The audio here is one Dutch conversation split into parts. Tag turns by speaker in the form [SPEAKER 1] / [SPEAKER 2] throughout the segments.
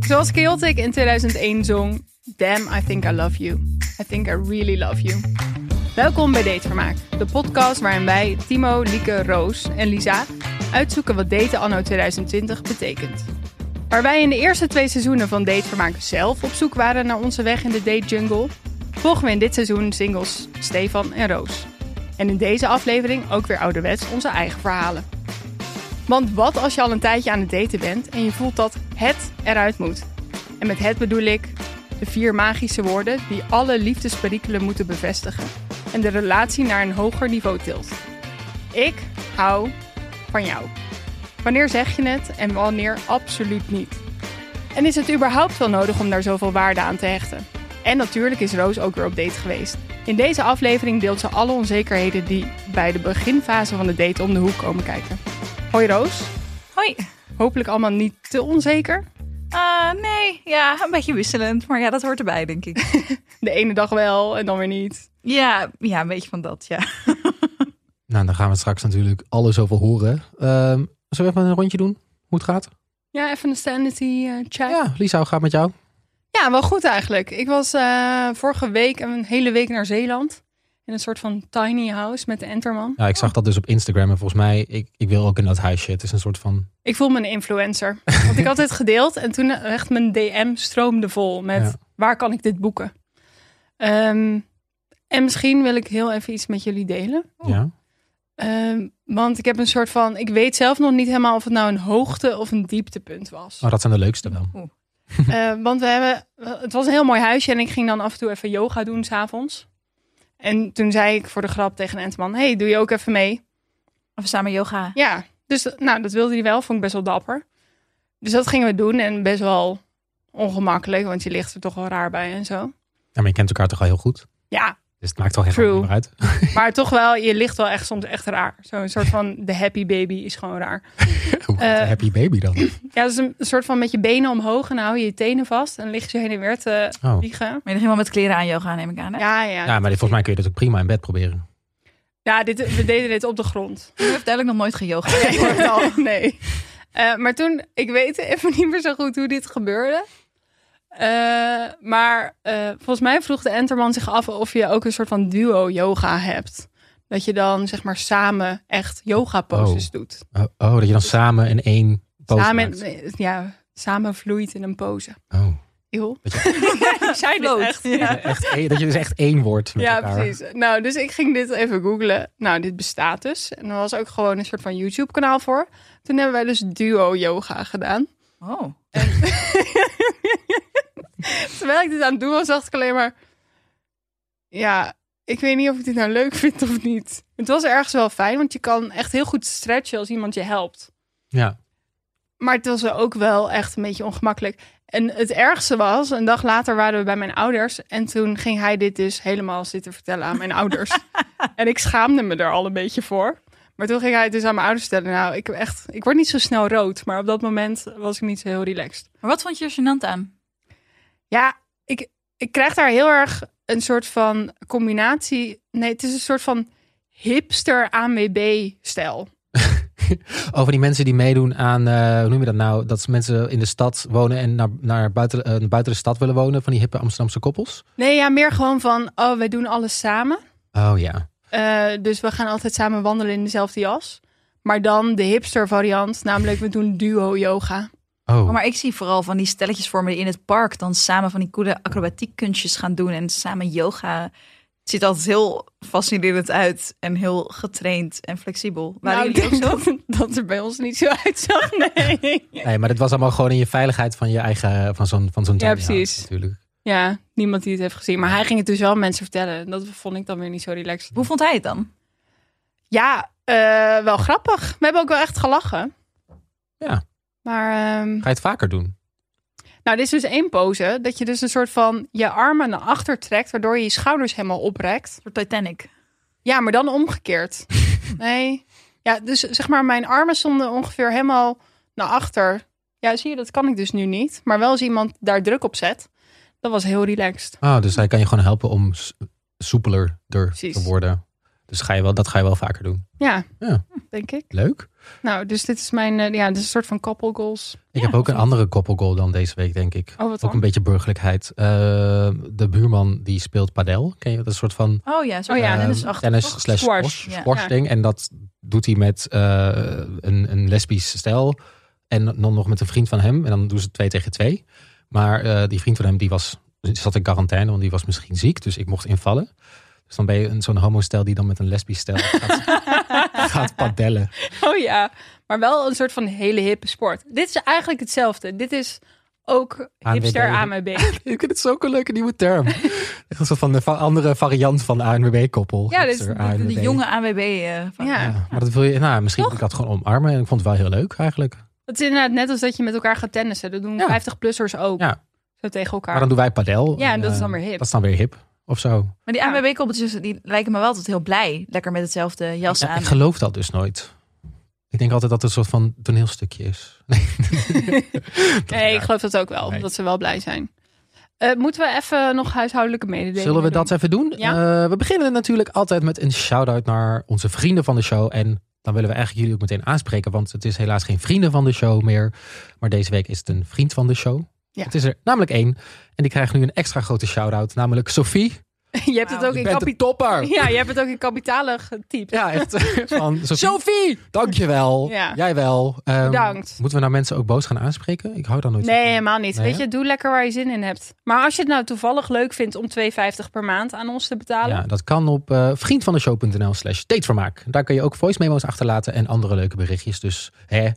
[SPEAKER 1] Zoals Chaotic in 2001 zong... Damn, I think I love you. I think I really love you. Welkom bij Datevermaak, de podcast waarin wij, Timo, Lieke, Roos en Lisa... uitzoeken wat daten anno 2020 betekent. Waar wij in de eerste twee seizoenen van Datevermaak zelf op zoek waren naar onze weg in de date jungle... volgen we in dit seizoen singles Stefan en Roos. En in deze aflevering ook weer ouderwets onze eigen verhalen. Want wat als je al een tijdje aan het daten bent en je voelt dat het eruit moet? En met het bedoel ik de vier magische woorden die alle liefdesperikelen moeten bevestigen en de relatie naar een hoger niveau tilt. Ik hou van jou. Wanneer zeg je het en wanneer absoluut niet? En is het überhaupt wel nodig om daar zoveel waarde aan te hechten? En natuurlijk is Roos ook weer op date geweest. In deze aflevering deelt ze alle onzekerheden die bij de beginfase van de date om de hoek komen kijken. Hoi Roos,
[SPEAKER 2] Hoi.
[SPEAKER 1] hopelijk allemaal niet te onzeker.
[SPEAKER 2] Eh, nee, ja, een beetje wisselend. Maar ja, dat hoort erbij, denk ik.
[SPEAKER 1] De ene dag wel en dan weer niet.
[SPEAKER 2] Ja, ja een beetje van dat, ja.
[SPEAKER 3] Nou, dan gaan we straks natuurlijk alles over horen. Ehm zullen we even een rondje doen? Hoe het gaat?
[SPEAKER 1] Ja, even een sanity eh, check. Ja.
[SPEAKER 3] Ja, Lisa, hoe gaat het met jou?
[SPEAKER 1] wel goed eigenlijk. Ik was eh, vorige week een hele week naar Zeeland. In een soort van tiny house met de Enterman.
[SPEAKER 3] Ja, ik zag dat dus op Instagram en volgens mij, ik, ik wil ook in dat huisje. Het is een soort van...
[SPEAKER 1] Ik voel me een influencer. Want ik had dit gedeeld en toen echt mijn DM stroomde vol met
[SPEAKER 3] Ja.
[SPEAKER 1] waar kan ik dit boeken? Ehm, en misschien wil ik heel even iets met jullie delen.
[SPEAKER 2] Oh.
[SPEAKER 3] Ja.
[SPEAKER 1] Ehm, want ik heb een soort van, ik weet zelf nog niet helemaal of het nou een hoogte of een dieptepunt was.
[SPEAKER 3] Oh, dat zijn de leukste wel.
[SPEAKER 2] Oeh.
[SPEAKER 1] Eh, want we hebben, het was een heel mooi huisje en ik ging dan af en toe even yoga doen s'avonds. En toen zei ik voor de grap tegen een Entman, hey, doe je ook even mee?
[SPEAKER 2] Of samen yoga.
[SPEAKER 1] Ja, dus nou, dat wilde hij wel, vond ik best wel dapper. Dus dat gingen we doen en best wel ongemakkelijk, want je ligt er toch wel raar bij en zo.
[SPEAKER 3] Ja, maar je kent elkaar toch al heel goed?
[SPEAKER 1] Ja,
[SPEAKER 3] Dus het maakt toch
[SPEAKER 1] True.
[SPEAKER 3] helemaal niet meer uit?
[SPEAKER 1] maar toch wel, je ligt wel echt soms echt raar. Zo'n soort van, de happy baby is gewoon raar.
[SPEAKER 3] Hoe gaat de
[SPEAKER 1] Eh.
[SPEAKER 3] happy baby dan?
[SPEAKER 1] Ja, dat is een soort van met je benen omhoog en dan hou je je tenen vast en dan lig je heen en weer te
[SPEAKER 3] Oh.
[SPEAKER 1] vliegen.
[SPEAKER 2] Maar je helemaal met kleren aan yoga, neem ik aan. Hè?
[SPEAKER 1] Ja, ja.
[SPEAKER 3] Ja, Nou, maar dit- volgens mij kun je dat ook prima in bed proberen.
[SPEAKER 1] ja dit, we deden dit op de grond.
[SPEAKER 2] U heeft duidelijk nog nooit geyoga. Ik hoor het al.
[SPEAKER 1] Oh, nee. Eh, maar toen, ik weet even niet meer zo goed hoe dit gebeurde. Eh, maar eh, volgens mij vroeg de Enterman zich af of je ook een soort van duo-yoga hebt. Dat je dan zeg maar samen echt yoga-poses
[SPEAKER 3] Oh.
[SPEAKER 1] doet.
[SPEAKER 3] Oh, oh, dat je dan samen in één pose
[SPEAKER 1] Dus samen, eh,
[SPEAKER 3] maakt.
[SPEAKER 1] ja, samen vloeit in een pose.
[SPEAKER 3] Oh.
[SPEAKER 1] Eeuw.
[SPEAKER 3] Dat
[SPEAKER 1] ik zei dit
[SPEAKER 2] Float.
[SPEAKER 1] echt.
[SPEAKER 2] Ja.
[SPEAKER 3] Echt één- dat je dus echt één wordt met
[SPEAKER 1] Ja,
[SPEAKER 3] elkaar.
[SPEAKER 1] precies. Nou, dus ik ging dit even googlen. Nou, dit bestaat dus. En er was ook gewoon een soort van YouTube-kanaal voor. Toen hebben wij dus duo-yoga gedaan.
[SPEAKER 2] Oh.
[SPEAKER 1] Terwijl ik dit aan het doen was, dacht ik alleen maar... Ja, ik weet niet of ik dit nou leuk vind of niet. Het was ergens wel fijn, want je kan echt heel goed stretchen als iemand je helpt.
[SPEAKER 3] Ja.
[SPEAKER 1] Maar het was ook wel echt een beetje ongemakkelijk. En het ergste was, een dag later waren we bij mijn ouders. En toen ging hij dit dus helemaal zitten vertellen aan mijn ouders. En ik schaamde me er al een beetje voor. Maar toen ging hij het dus aan mijn ouders vertellen. Nou, ik, heb echt, ik word niet zo snel rood. Maar op dat moment was ik niet zo heel relaxed.
[SPEAKER 2] Maar wat vond je er gênant aan?
[SPEAKER 1] Ja, ik, ik krijg daar heel erg een soort van combinatie. Nee, het is een soort van hipster ANWB-stijl.
[SPEAKER 3] Over die mensen die meedoen aan, eh, hoe noem je dat nou? Dat ze mensen in de stad wonen en naar, naar buiten, eh, buiten de stad willen wonen. Van die hippe Amsterdamse koppels.
[SPEAKER 1] Nee, ja, meer gewoon van, oh, wij doen alles samen.
[SPEAKER 3] Oh ja.
[SPEAKER 1] Eh, dus we gaan altijd samen wandelen in dezelfde jas. Maar dan de hipster variant, namelijk we doen duo-yoga.
[SPEAKER 3] Oh,
[SPEAKER 2] Oh, maar ik zie vooral van die stelletjes voor me die in het park dan samen van die coole acrobatiekkunstjes gaan doen en samen yoga. Het ziet altijd heel fascinerend uit en heel getraind en flexibel. Waren
[SPEAKER 1] Nou, ik
[SPEAKER 2] jullie ook zo?
[SPEAKER 1] denk dat, dat er bij ons niet zo uitzag, nee.
[SPEAKER 3] Nee, maar dit was allemaal gewoon in je veiligheid van je eigen, van zo'n van zo'n
[SPEAKER 1] Ja,
[SPEAKER 3] tiny house
[SPEAKER 1] precies.
[SPEAKER 3] natuurlijk.
[SPEAKER 1] Ja, niemand die het heeft gezien. Maar hij ging het dus wel mensen vertellen. Dat vond ik dan weer niet zo relaxed.
[SPEAKER 2] Hoe vond hij het dan?
[SPEAKER 1] Ja, eh, wel grappig. We hebben ook wel echt gelachen.
[SPEAKER 3] Ja.
[SPEAKER 1] Maar, ehm,
[SPEAKER 3] Ga je het vaker doen?
[SPEAKER 1] nou, dit is dus één pose. Dat je dus een soort van je armen naar achter trekt, waardoor je je schouders helemaal oprekt.
[SPEAKER 2] Voor Titanic.
[SPEAKER 1] Ja, maar dan omgekeerd. Nee. Ja, dus zeg maar, mijn armen stonden ongeveer helemaal naar achter. Ja, zie je, dat kan ik dus nu niet. Maar wel als iemand daar druk op zet, dat was heel relaxed.
[SPEAKER 3] Oh, dus hij kan je gewoon helpen om s- soepeler
[SPEAKER 1] Precies.
[SPEAKER 3] te worden. Dus ga je wel, dat ga je wel vaker doen.
[SPEAKER 1] Ja,
[SPEAKER 3] Ja.
[SPEAKER 1] denk ik.
[SPEAKER 3] Leuk.
[SPEAKER 1] Nou, dus dit is mijn, eh, ja, dit is een soort van couple goals.
[SPEAKER 3] Ik
[SPEAKER 2] Ja,
[SPEAKER 3] heb ook
[SPEAKER 2] of
[SPEAKER 3] een
[SPEAKER 2] niet?
[SPEAKER 3] andere koppelgoal dan deze week, denk ik.
[SPEAKER 1] Oh, wat
[SPEAKER 3] Ook een
[SPEAKER 1] dan?
[SPEAKER 3] beetje burgerlijkheid. Eh, de buurman die speelt padel. Ken je dat? Een soort van
[SPEAKER 2] Oh ja, zo
[SPEAKER 1] Oh ja,
[SPEAKER 3] eh,
[SPEAKER 2] tennis achter.
[SPEAKER 3] tennis
[SPEAKER 2] toch?
[SPEAKER 3] slash
[SPEAKER 1] Squash.
[SPEAKER 3] squash,
[SPEAKER 2] Ja.
[SPEAKER 3] squash
[SPEAKER 1] Ja.
[SPEAKER 3] ding. En dat doet hij met eh, een, een lesbisch stel. En dan nog met een vriend van hem. En dan doen ze twee tegen twee. Maar eh, die vriend van hem die was, zat in quarantaine, want die was misschien ziek. Dus ik mocht invallen. Dus dan ben je een- zo'n homostel die dan met een lesbisch stel gaat, gaat padellen.
[SPEAKER 1] Oh ja, maar wel een soort van hele hippe sport. Dit is eigenlijk hetzelfde. Dit is ook
[SPEAKER 3] ANWB.
[SPEAKER 1] hipster AMB.
[SPEAKER 3] Ik vind het zo ook een leuke nieuwe term. Echt een soort van een va- andere variant van ANWB-koppel.
[SPEAKER 1] Ja, dit is
[SPEAKER 3] Hipster
[SPEAKER 2] De,
[SPEAKER 3] ANWB.
[SPEAKER 2] de jonge AWB. eh van-
[SPEAKER 1] Ja.
[SPEAKER 3] Ja, maar dat wil je, nou, misschien moet ik dat gewoon omarmen. En ik vond het wel heel leuk eigenlijk.
[SPEAKER 1] Het is inderdaad net als dat je met elkaar gaat tennissen. Dat doen
[SPEAKER 3] Ja.
[SPEAKER 1] 50-plussers ook.
[SPEAKER 3] Ja.
[SPEAKER 1] Zo tegen elkaar.
[SPEAKER 3] Maar dan doen wij padel.
[SPEAKER 1] Ja, en dat is
[SPEAKER 3] eh,
[SPEAKER 1] dan weer hip.
[SPEAKER 3] Dat is dan weer hip of zo.
[SPEAKER 2] Maar die
[SPEAKER 1] Ja.
[SPEAKER 2] AWB-koppeltjes die lijken me wel altijd heel blij. Lekker met hetzelfde jas
[SPEAKER 3] Ja,
[SPEAKER 2] aan.
[SPEAKER 3] ik geloof dat dus nooit. Ik denk altijd dat het een soort van toneelstukje is.
[SPEAKER 1] Nee, ik geloof dat ook wel.
[SPEAKER 3] Nee.
[SPEAKER 1] Dat ze wel blij zijn. Eh, moeten we even nog huishoudelijke mededelingen
[SPEAKER 3] Zullen we
[SPEAKER 1] doen?
[SPEAKER 3] dat even doen? Eh, we beginnen natuurlijk altijd met een shout-out naar onze vrienden van de show. En dan willen we eigenlijk jullie ook meteen aanspreken. Want het is helaas geen vrienden van de show meer. Maar deze week is het een vriend van de show.
[SPEAKER 1] Ja.
[SPEAKER 3] Het is er namelijk één. En die krijgt nu een extra grote shout-out. Namelijk Sophie.
[SPEAKER 1] je hebt het
[SPEAKER 2] Wauw.
[SPEAKER 1] ook
[SPEAKER 3] Je
[SPEAKER 1] in
[SPEAKER 3] bent een
[SPEAKER 1] kapitaal.
[SPEAKER 3] topper.
[SPEAKER 1] Ja, je hebt het ook in kapitalen getypt.
[SPEAKER 3] Ja, echt. Van Sophie,
[SPEAKER 1] Sophie!
[SPEAKER 3] dankjewel.
[SPEAKER 1] Ja.
[SPEAKER 3] Jij wel. Ehm,
[SPEAKER 1] Bedankt.
[SPEAKER 3] Moeten we nou mensen ook boos gaan aanspreken? Ik hou daar nooit van.
[SPEAKER 1] Nee, helemaal niet.
[SPEAKER 3] Nee,
[SPEAKER 1] Weet
[SPEAKER 3] hè?
[SPEAKER 1] je, doe lekker waar je zin in hebt. Maar als je het nou toevallig leuk vindt om 2,50 per maand aan ons te betalen.
[SPEAKER 3] Ja, dat kan op eh vriendvandeshow.nl slash datevermaak. Daar kun je ook voice memo's achterlaten en andere leuke berichtjes. Dus hè,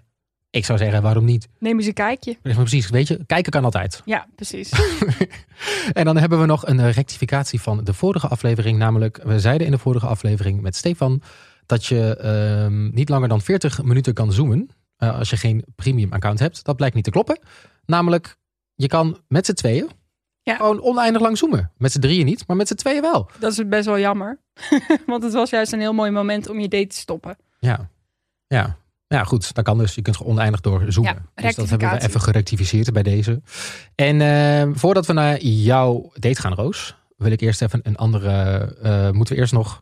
[SPEAKER 3] ik zou zeggen, waarom niet?
[SPEAKER 1] Neem eens een kijkje.
[SPEAKER 3] Maar precies, weet je, kijken kan altijd.
[SPEAKER 1] Ja, precies.
[SPEAKER 3] En dan hebben we nog een eh, rectificatie van de vorige aflevering. Namelijk, we zeiden in de vorige aflevering met Stefan... dat je ehm, niet langer dan 40 minuten kan zoomen... eh, als je geen premium account hebt. Dat blijkt niet te kloppen. Namelijk, je kan met z'n tweeën...
[SPEAKER 1] Ja.
[SPEAKER 3] gewoon oneindig lang zoomen. Met z'n drieën niet, maar met z'n tweeën wel.
[SPEAKER 1] Dat is best wel jammer. Want het was juist een heel mooi moment om je date te stoppen.
[SPEAKER 3] Ja, ja. Ja, goed, dat kan dus. Je kunt gewoon oneindig door zoomen.
[SPEAKER 1] Ja,
[SPEAKER 3] dus dat hebben we
[SPEAKER 1] rectificatie.
[SPEAKER 3] even gerectificeerd bij deze. En eh, voordat we naar jouw date gaan, Roos, wil ik eerst even een andere. eh, moeten we eerst nog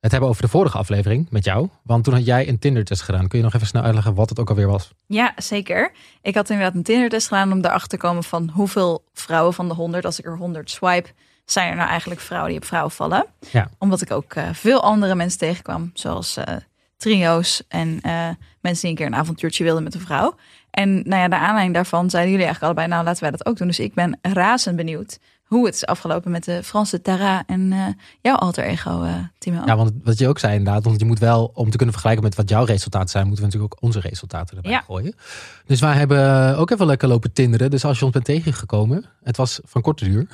[SPEAKER 3] het hebben over de vorige aflevering met jou? Want toen had jij een Tinder-test gedaan. Kun je nog even snel uitleggen wat het ook alweer was?
[SPEAKER 2] Ja, zeker. Ik had inderdaad een Tinder-test gedaan om erachter te komen van hoeveel vrouwen van de 100, als ik er 100 swipe, zijn er nou eigenlijk vrouwen die op vrouwen vallen.
[SPEAKER 3] Ja.
[SPEAKER 2] Omdat ik ook eh, veel andere mensen tegenkwam, zoals eh, trio's en eh, mensen die een keer een avontuurtje wilden met een vrouw. En nou ja, de aanleiding daarvan zeiden jullie eigenlijk allebei, nou laten wij dat ook doen. Dus ik ben razend benieuwd hoe het is afgelopen met de Franse Tara en eh, jouw alter ego, eh Timo.
[SPEAKER 1] Oh.
[SPEAKER 3] Ja, want wat je ook zei inderdaad, want je moet wel, om te kunnen vergelijken met wat jouw resultaten zijn, moeten we natuurlijk ook onze resultaten erbij
[SPEAKER 2] Ja.
[SPEAKER 3] gooien. Dus wij hebben ook even lekker lopen tinderen. Dus als je ons bent tegengekomen, het was van korte duur.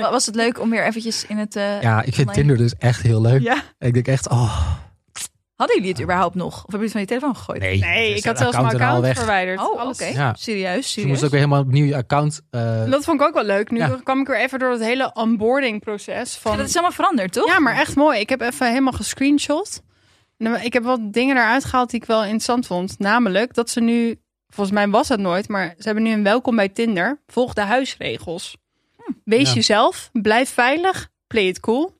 [SPEAKER 2] Wa- Was het leuk om weer eventjes in het... eh,
[SPEAKER 3] Ja, ik vind
[SPEAKER 2] online-
[SPEAKER 3] Tinder dus echt heel leuk.
[SPEAKER 1] Ja.
[SPEAKER 3] Ik denk echt, oh
[SPEAKER 2] Hadden jullie het überhaupt nog? Of hebben jullie het van je telefoon gegooid?
[SPEAKER 3] nee.
[SPEAKER 1] Nee,
[SPEAKER 3] Dus
[SPEAKER 1] ik had
[SPEAKER 3] dat
[SPEAKER 1] zelfs mijn
[SPEAKER 3] en al
[SPEAKER 1] account
[SPEAKER 3] weg.
[SPEAKER 1] verwijderd.
[SPEAKER 2] Oh, oké.
[SPEAKER 1] Alles.
[SPEAKER 3] Ja.
[SPEAKER 2] Serieus,
[SPEAKER 3] Dus je
[SPEAKER 2] serieus.
[SPEAKER 3] moest ook weer helemaal opnieuw je account. eh,
[SPEAKER 1] Dat vond ik ook wel leuk. Nu
[SPEAKER 3] Ja.
[SPEAKER 1] kwam ik weer even door dat hele onboarding proces. Van...
[SPEAKER 2] Ja, dat is helemaal veranderd, toch?
[SPEAKER 1] Ja, maar echt mooi. Ik heb even helemaal gescreenshot. En dan- Ik heb wat dingen eruit gehaald die ik wel interessant vond. Namelijk dat ze nu, volgens mij was dat nooit, maar ze hebben nu een welkom bij Tinder. Volg de huisregels. Wees
[SPEAKER 3] Ja.
[SPEAKER 1] jezelf, blijf veilig, play it cool.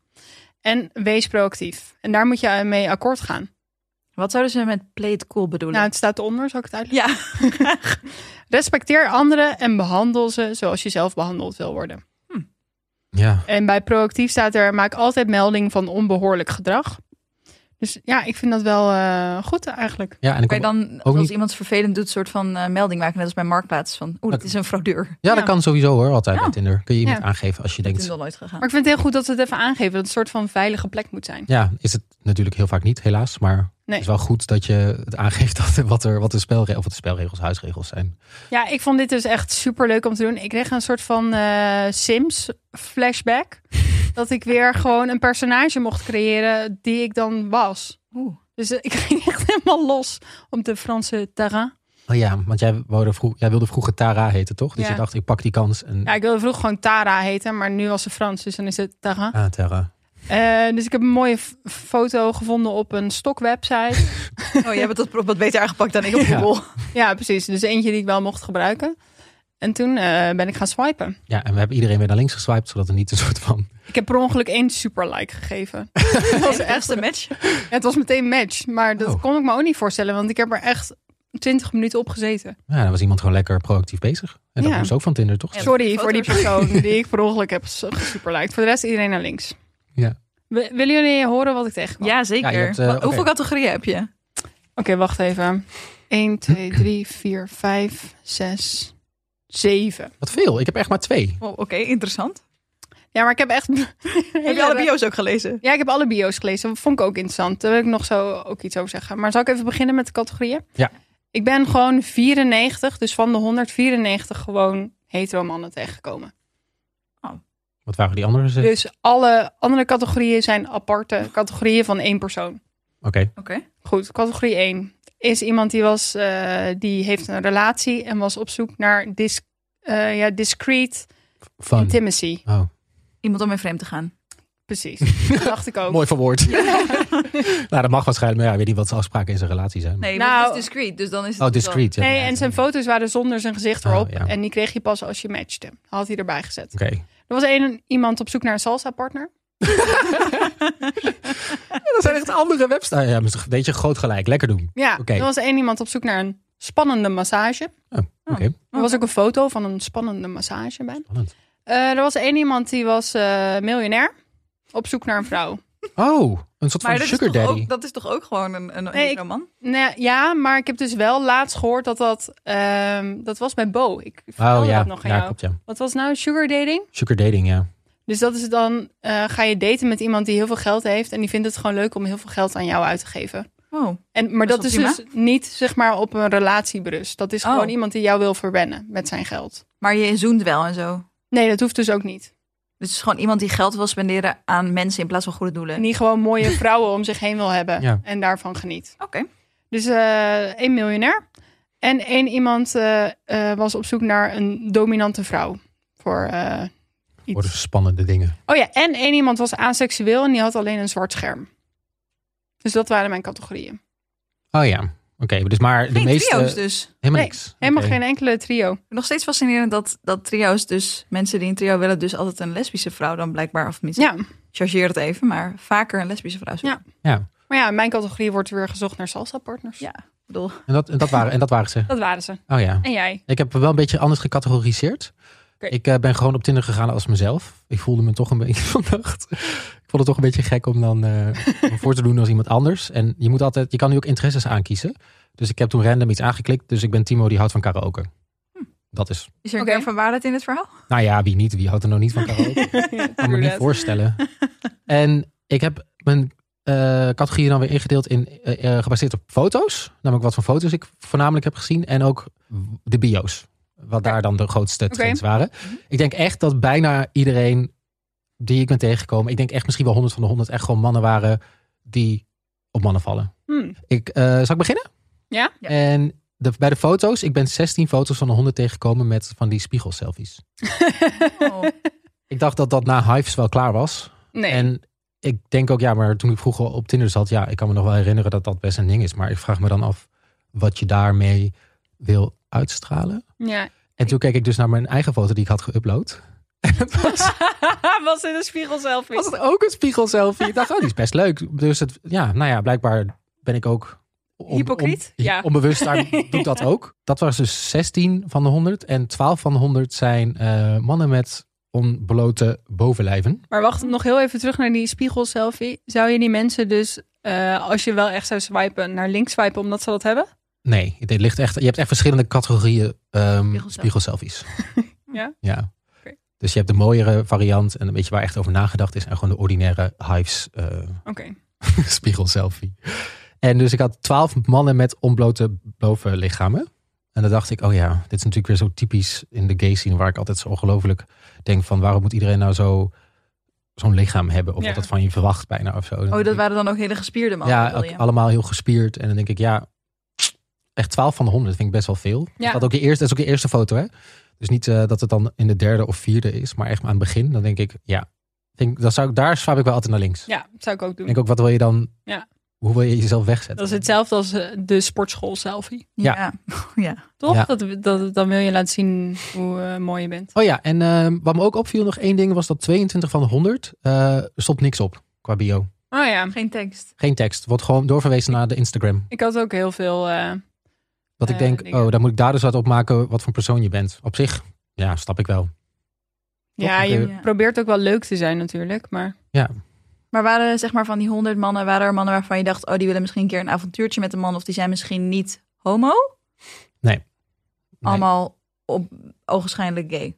[SPEAKER 1] En wees proactief. En daar moet je mee akkoord gaan.
[SPEAKER 2] Wat zouden ze met play it cool bedoelen?
[SPEAKER 1] Nou, het staat eronder, zal ik het uitleggen?
[SPEAKER 2] ja.
[SPEAKER 1] Respecteer anderen en behandel ze zoals je zelf behandeld wil worden.
[SPEAKER 3] ja.
[SPEAKER 1] En bij proactief staat er: maak altijd melding van onbehoorlijk gedrag. Dus ja, ik vind dat wel eh, goed eigenlijk.
[SPEAKER 3] ja, en ik
[SPEAKER 2] Kan je
[SPEAKER 3] kom-
[SPEAKER 2] dan,
[SPEAKER 3] ook
[SPEAKER 2] als
[SPEAKER 3] niet-
[SPEAKER 2] iemand vervelend doet, soort van eh, melding maken, net als bij Marktplaats? Van, oeh, dat is een fraudeur.
[SPEAKER 3] ja, dat
[SPEAKER 1] ja.
[SPEAKER 3] kan sowieso hoor, altijd
[SPEAKER 2] Ja.
[SPEAKER 3] bij Tinder. Kun je iemand
[SPEAKER 1] Ja.
[SPEAKER 3] aangeven als je
[SPEAKER 2] Ik ben
[SPEAKER 3] denkt.
[SPEAKER 2] nog nooit gegaan.
[SPEAKER 1] Maar ik vind het heel goed dat ze het even aangeven. Dat het een soort van veilige plek moet zijn.
[SPEAKER 3] Ja, is het natuurlijk heel vaak niet, helaas. Maar het
[SPEAKER 1] Nee.
[SPEAKER 3] is wel goed dat je het aangeeft dat, wat, er, wat de, spelre of wat de spelregels, huisregels zijn.
[SPEAKER 1] Ja, ik vond dit dus echt super leuk om te doen. Ik kreeg een soort van eh, Sims flashback. dat ik weer gewoon een personage mocht creëren die ik dan was.
[SPEAKER 2] Oeh.
[SPEAKER 1] Dus eh, ik ging echt helemaal los op de Franse terrain.
[SPEAKER 3] Oh ja, want jij, wou vroeg, jij wilde vroeger Tara heten, toch? Dus
[SPEAKER 1] Ja.
[SPEAKER 3] je dacht, ik pak die kans. En,
[SPEAKER 1] Ja, ik wilde vroeger gewoon Tara heten, maar nu was ze Frans, dus dan is het Tara.
[SPEAKER 3] Ah, Tara.
[SPEAKER 1] Eh, dus ik heb een mooie f- foto gevonden op een stokwebsite.
[SPEAKER 2] Oh, jij hebt dat wat beter aangepakt dan ik op
[SPEAKER 3] Ja.
[SPEAKER 2] Google.
[SPEAKER 1] ja, precies. Dus eentje die ik wel mocht gebruiken. En toen eh, ben ik gaan swipen.
[SPEAKER 3] Ja, en we hebben iedereen weer naar links geswiped, zodat er niet een soort van...
[SPEAKER 1] Ik heb per ongeluk één super like gegeven. dat was echt,
[SPEAKER 2] Eerste match.
[SPEAKER 1] het was meteen match. Maar dat
[SPEAKER 3] Oh.
[SPEAKER 1] kon ik me ook niet voorstellen, want ik heb er echt 20 minuten op gezeten.
[SPEAKER 3] Ja, dan was iemand gewoon lekker proactief bezig. En dat
[SPEAKER 1] Ja.
[SPEAKER 3] moest ook van Tinder, toch?
[SPEAKER 2] Ja.
[SPEAKER 1] Sorry
[SPEAKER 2] foto's.
[SPEAKER 1] voor die persoon die ik per ongeluk heb gesuperliked. Voor de rest iedereen naar links.
[SPEAKER 3] Ja.
[SPEAKER 1] W- willen jullie horen wat ik tegenkwam?
[SPEAKER 2] Ja, zeker.
[SPEAKER 3] Ja, je hebt, eh,
[SPEAKER 2] Wa-
[SPEAKER 3] oké.
[SPEAKER 2] Hoeveel categorieën heb je?
[SPEAKER 1] Oké, wacht even. 1, 2, 3, 4, 5, 6, 7.
[SPEAKER 3] Wat veel. Ik heb echt maar twee.
[SPEAKER 2] Oh, Oké, interessant.
[SPEAKER 1] Ja, maar ik heb echt...
[SPEAKER 2] Heb je alle bio's ook gelezen?
[SPEAKER 1] Ja, ik heb alle bio's gelezen. Dat vond ik ook interessant. Daar wil ik nog zo ook iets over zeggen. Maar zal ik even beginnen met de categorieën?
[SPEAKER 3] Ja.
[SPEAKER 1] Ik ben gewoon 94, dus van de 194 gewoon hetero mannen tegengekomen.
[SPEAKER 3] Wat waren die andere zes?
[SPEAKER 1] Dus alle andere categorieën zijn aparte categorieën van één persoon.
[SPEAKER 3] Oké.
[SPEAKER 2] Oké.
[SPEAKER 1] Goed, categorie 1 is iemand die, was, eh, die heeft een relatie en was op zoek naar dis, eh, ja, discreet
[SPEAKER 3] Fun.
[SPEAKER 1] intimacy.
[SPEAKER 3] Oh,
[SPEAKER 2] Iemand om mee vreemd te gaan.
[SPEAKER 1] Precies, dat dacht ik ook.
[SPEAKER 3] mooi verwoord. nou, dat mag waarschijnlijk. Maar ja, ik weet niet wat zijn afspraken in zijn relatie zijn.
[SPEAKER 2] Nee,
[SPEAKER 1] Nou-
[SPEAKER 2] nou, het is discreet, dus dan is het...
[SPEAKER 3] Oh, discreet. ja.
[SPEAKER 1] Nee, en zijn foto's waren zonder zijn gezicht
[SPEAKER 3] Oh,
[SPEAKER 1] erop.
[SPEAKER 3] ja.
[SPEAKER 1] En die kreeg je pas als je matchte. Had hij erbij gezet.
[SPEAKER 3] Oké.
[SPEAKER 1] Er was een, iemand op zoek naar een salsa-partner.
[SPEAKER 3] Dat zijn echt andere websites. Ja, maar weet je, groot gelijk. Lekker doen.
[SPEAKER 1] Ja,
[SPEAKER 3] Oké.
[SPEAKER 1] er was één iemand op zoek naar een spannende massage.
[SPEAKER 3] Oh, oké.
[SPEAKER 1] Er was ook een foto van een spannende massage bij.
[SPEAKER 3] Spannend.
[SPEAKER 1] Eh, er was één iemand die was eh, miljonair. Op zoek naar een vrouw.
[SPEAKER 3] Oh, een soort
[SPEAKER 2] Maar
[SPEAKER 3] van
[SPEAKER 2] dat is,
[SPEAKER 3] sugar
[SPEAKER 2] toch
[SPEAKER 3] daddy.
[SPEAKER 2] ook, dat is toch ook gewoon een, een
[SPEAKER 1] Nee,
[SPEAKER 2] hetero man?
[SPEAKER 1] Nee, ja, maar ik heb dus wel laatst gehoord dat dat... ehm, dat was bij Bo. Ik vertelde
[SPEAKER 3] oh ja,
[SPEAKER 1] dat nog aan
[SPEAKER 3] ja,
[SPEAKER 1] jou.
[SPEAKER 3] klopt ja.
[SPEAKER 1] Wat was nou sugar dating?
[SPEAKER 3] Sugar dating, ja.
[SPEAKER 1] Dus dat is dan... eh, ga je daten met iemand die heel veel geld heeft... en die vindt het gewoon leuk om heel veel geld aan jou uit te geven.
[SPEAKER 2] Wow.
[SPEAKER 1] En, maar dat,
[SPEAKER 2] Dat
[SPEAKER 1] is
[SPEAKER 2] is wel
[SPEAKER 1] dus niet zeg maar op een relatie berust. Dat is
[SPEAKER 2] Oh.
[SPEAKER 1] gewoon iemand die jou wil verwennen met zijn geld.
[SPEAKER 2] Maar je zoent wel en zo.
[SPEAKER 1] Nee, dat hoeft dus ook niet.
[SPEAKER 2] Dus het is gewoon iemand die geld wil spenderen aan mensen in plaats van goede doelen.
[SPEAKER 1] En die gewoon mooie vrouwen om zich heen wil hebben
[SPEAKER 3] Ja.
[SPEAKER 1] en daarvan geniet.
[SPEAKER 2] Oké.
[SPEAKER 1] Dus eh één miljonair en één iemand eh, eh, was op zoek naar een dominante vrouw voor eh,
[SPEAKER 3] Worden
[SPEAKER 1] iets.
[SPEAKER 3] spannende dingen.
[SPEAKER 1] Oh ja, en één iemand was aseksueel en die had alleen een zwart scherm. Dus dat waren mijn categorieën.
[SPEAKER 3] Oh ja. Oké, dus maar de
[SPEAKER 2] Geen
[SPEAKER 3] meeste...
[SPEAKER 2] trio's dus.
[SPEAKER 3] Helemaal
[SPEAKER 1] Nee,
[SPEAKER 3] niks.
[SPEAKER 1] Helemaal
[SPEAKER 3] Oké.
[SPEAKER 1] geen enkele trio.
[SPEAKER 2] Nog steeds fascinerend dat, dat trio's dus... Mensen die een trio willen dus altijd een lesbische vrouw dan blijkbaar. Of tenminste,
[SPEAKER 1] Ja,
[SPEAKER 2] chargeer het even. Maar vaker een lesbische vrouw zoeken.
[SPEAKER 1] maar ja, in mijn categorie wordt weer gezocht naar salsa partners.
[SPEAKER 2] Ja. Ik bedoel,
[SPEAKER 3] En dat, en dat waren, en dat waren ze.
[SPEAKER 1] Dat waren ze.
[SPEAKER 3] Oh ja.
[SPEAKER 1] En jij?
[SPEAKER 3] Ik heb wel een beetje anders gecategoriseerd.
[SPEAKER 1] Oké.
[SPEAKER 3] Ik eh, ben gewoon op Tinder gegaan als mezelf. Ik voelde me toch een beetje vannacht. Ik vond het toch een beetje gek om dan eh, om voor te doen als iemand anders. En je moet altijd, je kan nu ook interesses aankiezen. Dus ik heb toen random iets aangeklikt. Dus ik ben Timo die houdt van karaoke. Dat is.
[SPEAKER 2] is er een
[SPEAKER 1] Oké.
[SPEAKER 2] kern van waarheid in het verhaal?
[SPEAKER 3] Nou ja, wie niet? Wie houdt er nou niet van karaoke? Ik kan me niet voorstellen. En ik heb mijn eh categorieën dan weer ingedeeld in eh, eh, gebaseerd op foto's. Namelijk wat voor foto's ik voornamelijk heb gezien. En ook de bio's. Wat daar dan de grootste trends waren. Ik denk echt dat bijna iedereen die ik ben tegengekomen. Ik denk echt misschien wel 100 van de 100 echt gewoon mannen waren die op mannen vallen.
[SPEAKER 1] Hmm.
[SPEAKER 3] Ik, eh, zal ik beginnen?
[SPEAKER 1] Ja.
[SPEAKER 2] Ja.
[SPEAKER 3] En de, bij de foto's, ik ben 16 foto's van de 100 tegengekomen met van die spiegelselfies.
[SPEAKER 2] Oh.
[SPEAKER 3] Ik dacht dat dat na Hives wel klaar was.
[SPEAKER 1] Nee.
[SPEAKER 3] En ik denk ook, ja, maar toen ik vroeger op Tinder zat, ja, ik kan me nog wel herinneren dat dat best een ding is. Maar ik vraag me dan af wat je daarmee wil uitstralen.
[SPEAKER 1] Ja.
[SPEAKER 3] En toen keek ik dus naar mijn eigen foto die ik had geüpload.
[SPEAKER 1] was in de spiegel zelf
[SPEAKER 3] Was het ook een spiegel selfie? Ik dacht, oh, die is best leuk. Dus het, ja, nou ja, blijkbaar ben ik ook... on-
[SPEAKER 1] Hypocriet?
[SPEAKER 3] on-
[SPEAKER 1] Ja.
[SPEAKER 3] Onbewust daar doet dat ook. Dat was dus 16 van de 100. En 12 van de 100 zijn eh, mannen met onblote bovenlijven.
[SPEAKER 1] Maar wacht, nog heel even terug naar die spiegel selfie. Zou je die mensen dus, eh, als je wel echt zou swipen, naar links swipen omdat ze dat hebben?
[SPEAKER 3] Nee, dit ligt echt, je hebt echt verschillende categorieën ehm
[SPEAKER 2] Spiegelselfies.
[SPEAKER 3] spiegelselfies.
[SPEAKER 1] Ja?
[SPEAKER 3] ja.
[SPEAKER 1] Oké.
[SPEAKER 3] Dus je hebt de mooiere variant en een beetje waar echt over nagedacht is. En gewoon de ordinaire Hives eh
[SPEAKER 1] Oké.
[SPEAKER 3] spiegelselfie. En dus ik had twaalf mannen met onblote bovenlichamen. En dan dacht ik, oh ja, dit is natuurlijk weer zo typisch in de gay scene. Waar ik altijd zo ongelooflijk denk van waarom moet iedereen nou zo... Zo'n lichaam hebben, of
[SPEAKER 1] Ja.
[SPEAKER 3] wat dat van je verwacht bijna of zo. Dan
[SPEAKER 2] oh,
[SPEAKER 3] denk
[SPEAKER 2] dat
[SPEAKER 3] ik,
[SPEAKER 2] waren dan ook hele gespierde mannen.
[SPEAKER 3] ja,
[SPEAKER 2] bedoel
[SPEAKER 3] ook
[SPEAKER 2] je?
[SPEAKER 3] allemaal heel gespierd. En dan denk ik, ja, echt 12 van de 100 vind ik best wel veel.
[SPEAKER 1] Ja.
[SPEAKER 3] Dat, had ook je eerste, dat is ook je eerste foto, hè? Dus niet eh, dat het dan in de derde of vierde is, maar echt aan het begin. Dan denk ik, ja, denk, dan zou ik, daar swipe ik wel altijd naar links.
[SPEAKER 1] Ja, dat zou ik ook doen.
[SPEAKER 3] Denk ook, wat wil je dan?
[SPEAKER 1] Ja.
[SPEAKER 3] hoe wil je jezelf wegzetten?
[SPEAKER 1] Dat is hetzelfde als eh, de sportschool selfie.
[SPEAKER 2] Ja.
[SPEAKER 3] Ja.
[SPEAKER 2] ja.
[SPEAKER 1] Toch?
[SPEAKER 3] Ja.
[SPEAKER 1] Dat, dat, dan wil je laten zien hoe eh, mooi je bent.
[SPEAKER 3] Oh ja, en eh, wat me ook opviel, nog één ding, was dat 22 van de 100 eh, er stond niks op qua bio.
[SPEAKER 1] Oh ja,
[SPEAKER 2] Geen tekst.
[SPEAKER 3] Geen tekst. Wordt gewoon doorverwezen naar de Instagram.
[SPEAKER 1] ik had ook heel veel. eh,
[SPEAKER 3] Dat ik
[SPEAKER 1] Eh,
[SPEAKER 3] denk,
[SPEAKER 1] dingen.
[SPEAKER 3] oh, dan moet ik daar dus wat op maken wat voor persoon je bent. Op zich, ja, snap ik wel.
[SPEAKER 1] ja,
[SPEAKER 3] Toch?
[SPEAKER 1] je
[SPEAKER 2] Ja.
[SPEAKER 1] probeert ook wel leuk te zijn natuurlijk. Maar
[SPEAKER 2] Maar waren er, zeg maar van die honderd mannen, waren er mannen waarvan je dacht, oh, die willen misschien een keer een avontuurtje met een man, of die zijn misschien niet homo?
[SPEAKER 3] Nee.
[SPEAKER 2] Allemaal op ogenschijnlijk gay.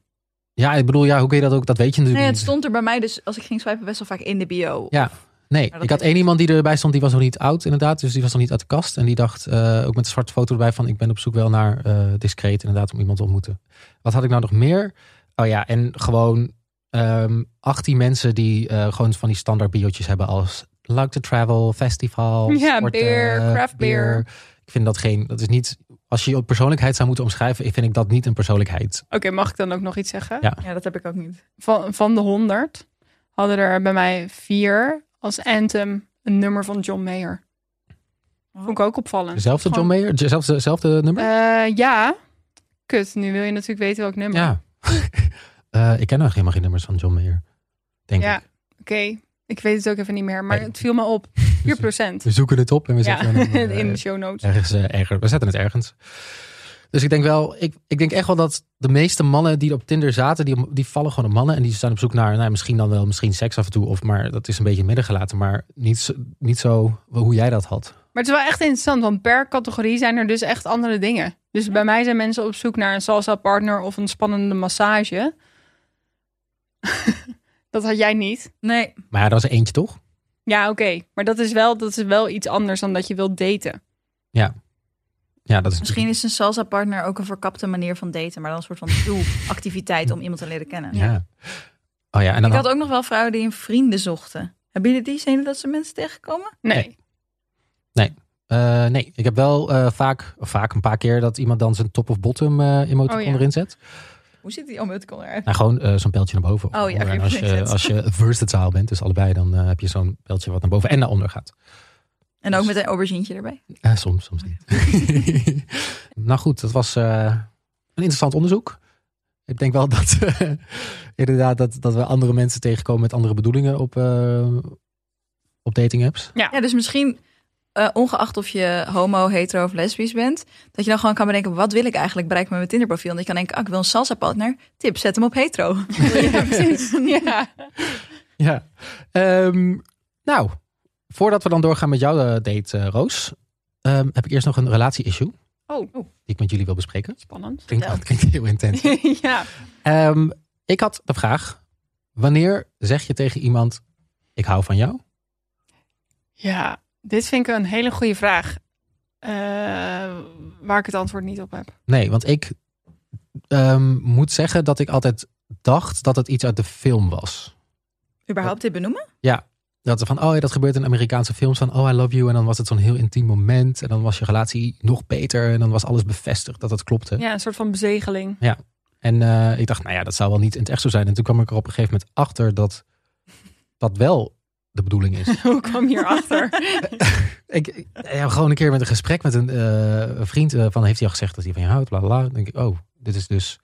[SPEAKER 3] Ja, ik bedoel, ja, hoe kun je dat ook? Dat weet je
[SPEAKER 2] Nee, het
[SPEAKER 3] natuurlijk niet.
[SPEAKER 2] stond er bij mij dus, als ik ging swipen, best wel vaak in de bio.
[SPEAKER 3] Ja. Nee,
[SPEAKER 2] dat
[SPEAKER 3] ik had
[SPEAKER 2] weet
[SPEAKER 3] één iemand die erbij stond, die was nog niet oud inderdaad. Dus die was nog niet uit de kast. En die dacht, eh, ook met een zwarte foto erbij, van ik ben op zoek wel naar eh, discreet inderdaad om iemand te ontmoeten. Wat had ik nou nog meer? Oh ja, en gewoon ehm 18 mensen die eh, gewoon van die standaard biotjes hebben als like to travel, festivals.
[SPEAKER 1] Ja,
[SPEAKER 3] sporten,
[SPEAKER 1] beer, craft beer.
[SPEAKER 3] Ik vind dat geen, dat is niet, als je je persoonlijkheid zou moeten omschrijven, ik vind ik dat niet een persoonlijkheid.
[SPEAKER 1] oké, mag ik dan ook nog iets zeggen?
[SPEAKER 3] Ja.
[SPEAKER 2] Ja, dat heb ik ook niet.
[SPEAKER 1] Van, van de 100 hadden er bij mij vier als anthem een nummer van John Mayer.
[SPEAKER 2] Oh.
[SPEAKER 1] Vond ik ook opvallend.
[SPEAKER 3] Zelfde John
[SPEAKER 1] Gewoon-
[SPEAKER 3] Mayer, zelfde, zelfde nummer?
[SPEAKER 1] Eh, ja. Kut, nu wil je natuurlijk weten welk nummer.
[SPEAKER 3] Ja. Eh, ik ken nog helemaal geen nummers van John Mayer. Denk
[SPEAKER 1] Ja.
[SPEAKER 3] ik.
[SPEAKER 1] Oké, ik weet het ook even niet meer, maar
[SPEAKER 3] Nee. Dus
[SPEAKER 1] het viel me op. 4%.
[SPEAKER 3] We zoeken het op en we
[SPEAKER 1] Ja,
[SPEAKER 3] zetten het eh,
[SPEAKER 1] in de show notes.
[SPEAKER 3] ergens, eh, erger. We zetten het ergens. Dus ik denk wel, ik, ik denk echt wel dat de meeste mannen die op Tinder zaten, die, die vallen gewoon op mannen. En die zijn op zoek naar, nou, misschien dan wel, misschien seks af en toe. Of maar dat is een beetje in het midden gelaten. Maar niet zo, niet zo hoe jij dat had.
[SPEAKER 1] Maar het is wel echt interessant, want per categorie zijn er dus echt andere dingen. Dus bij mij zijn mensen op zoek naar een salsa partner of een spannende massage. dat had jij niet.
[SPEAKER 2] Nee,
[SPEAKER 3] Maar ja, dat was eentje toch?
[SPEAKER 1] Ja, oké. Maar dat is, wel, dat is wel iets anders dan dat je wilt daten.
[SPEAKER 3] Ja, dat is
[SPEAKER 2] misschien is een salsa partner ook een verkapte manier van daten, maar dan een soort van doelactiviteit om iemand te leren kennen.
[SPEAKER 3] Ja. Oh ja, en dan
[SPEAKER 2] Ik had ook nog wel vrouwen die een vrienden zochten. Hebben jullie die? Zijn jullie dat ze mensen tegenkomen?
[SPEAKER 1] Nee.
[SPEAKER 3] Nee. Eh, nee, ik heb wel eh, vaak, of vaak een paar keer dat iemand dan zijn top of bottom eh emoticon
[SPEAKER 1] Oh ja.
[SPEAKER 3] erin zet.
[SPEAKER 2] Hoe ziet die emoticon eruit?
[SPEAKER 3] Nou, gewoon eh, zo'n pijltje naar boven.
[SPEAKER 2] Oh ja,
[SPEAKER 3] Onder.
[SPEAKER 2] oké,
[SPEAKER 3] En als je,
[SPEAKER 2] perfect.
[SPEAKER 3] als je versatile bent, dus allebei, dan eh, heb je zo'n pijltje wat naar boven en naar onder gaat.
[SPEAKER 2] En ook met een aubergine erbij.
[SPEAKER 3] Eh, soms, soms niet. nou goed, dat was eh, een interessant onderzoek. Ik denk wel dat, eh, inderdaad, dat, dat we andere mensen tegenkomen met andere bedoelingen op, eh, op dating apps.
[SPEAKER 2] Ja, dus misschien, eh, ongeacht of je homo, hetero of lesbisch bent, dat je dan gewoon kan bedenken, wat wil ik eigenlijk bereiken met mijn Tinderprofiel? En dat je kan denken, ah, ik wil een salsa partner. Tip, zet hem op hetero.
[SPEAKER 1] ja, precies. Ja.
[SPEAKER 3] Ja. Ehm, nou, voordat we dan doorgaan met jouw eh, date, eh, Roos, ehm, heb ik eerst nog een relatie-issue
[SPEAKER 1] Oh,
[SPEAKER 3] die ik met jullie wil bespreken.
[SPEAKER 1] spannend.
[SPEAKER 3] Klinkt, dat klinkt heel intens.
[SPEAKER 1] ja.
[SPEAKER 3] Ehm, ik had de vraag: wanneer zeg je tegen iemand: ik hou van jou?
[SPEAKER 1] ja, dit vind ik een hele goede vraag. Eh, waar ik het antwoord niet op heb.
[SPEAKER 3] Nee, want ik ehm, moet zeggen dat ik altijd dacht dat het iets uit de film was.
[SPEAKER 2] Überhaupt dit benoemen?
[SPEAKER 3] Dat van, oh ja, dat gebeurt in Amerikaanse films van, oh I love you. En dan was het zo'n heel intiem moment. En dan was je relatie nog beter. En dan was alles bevestigd dat het klopte.
[SPEAKER 1] Ja, een soort van bezegeling.
[SPEAKER 3] En eh, ik dacht, nou ja, dat zou wel niet in het echt zo zijn. En toen kwam ik er op een gegeven moment achter dat dat wel de bedoeling is.
[SPEAKER 1] Hoe kwam je hierachter?
[SPEAKER 3] Ik, ik- ja, gewoon een keer met een gesprek met een, eh, een vriend eh, van heeft hij al gezegd dat hij van je houdt, bla bla, bla. Dan denk ik, oh, dit is dus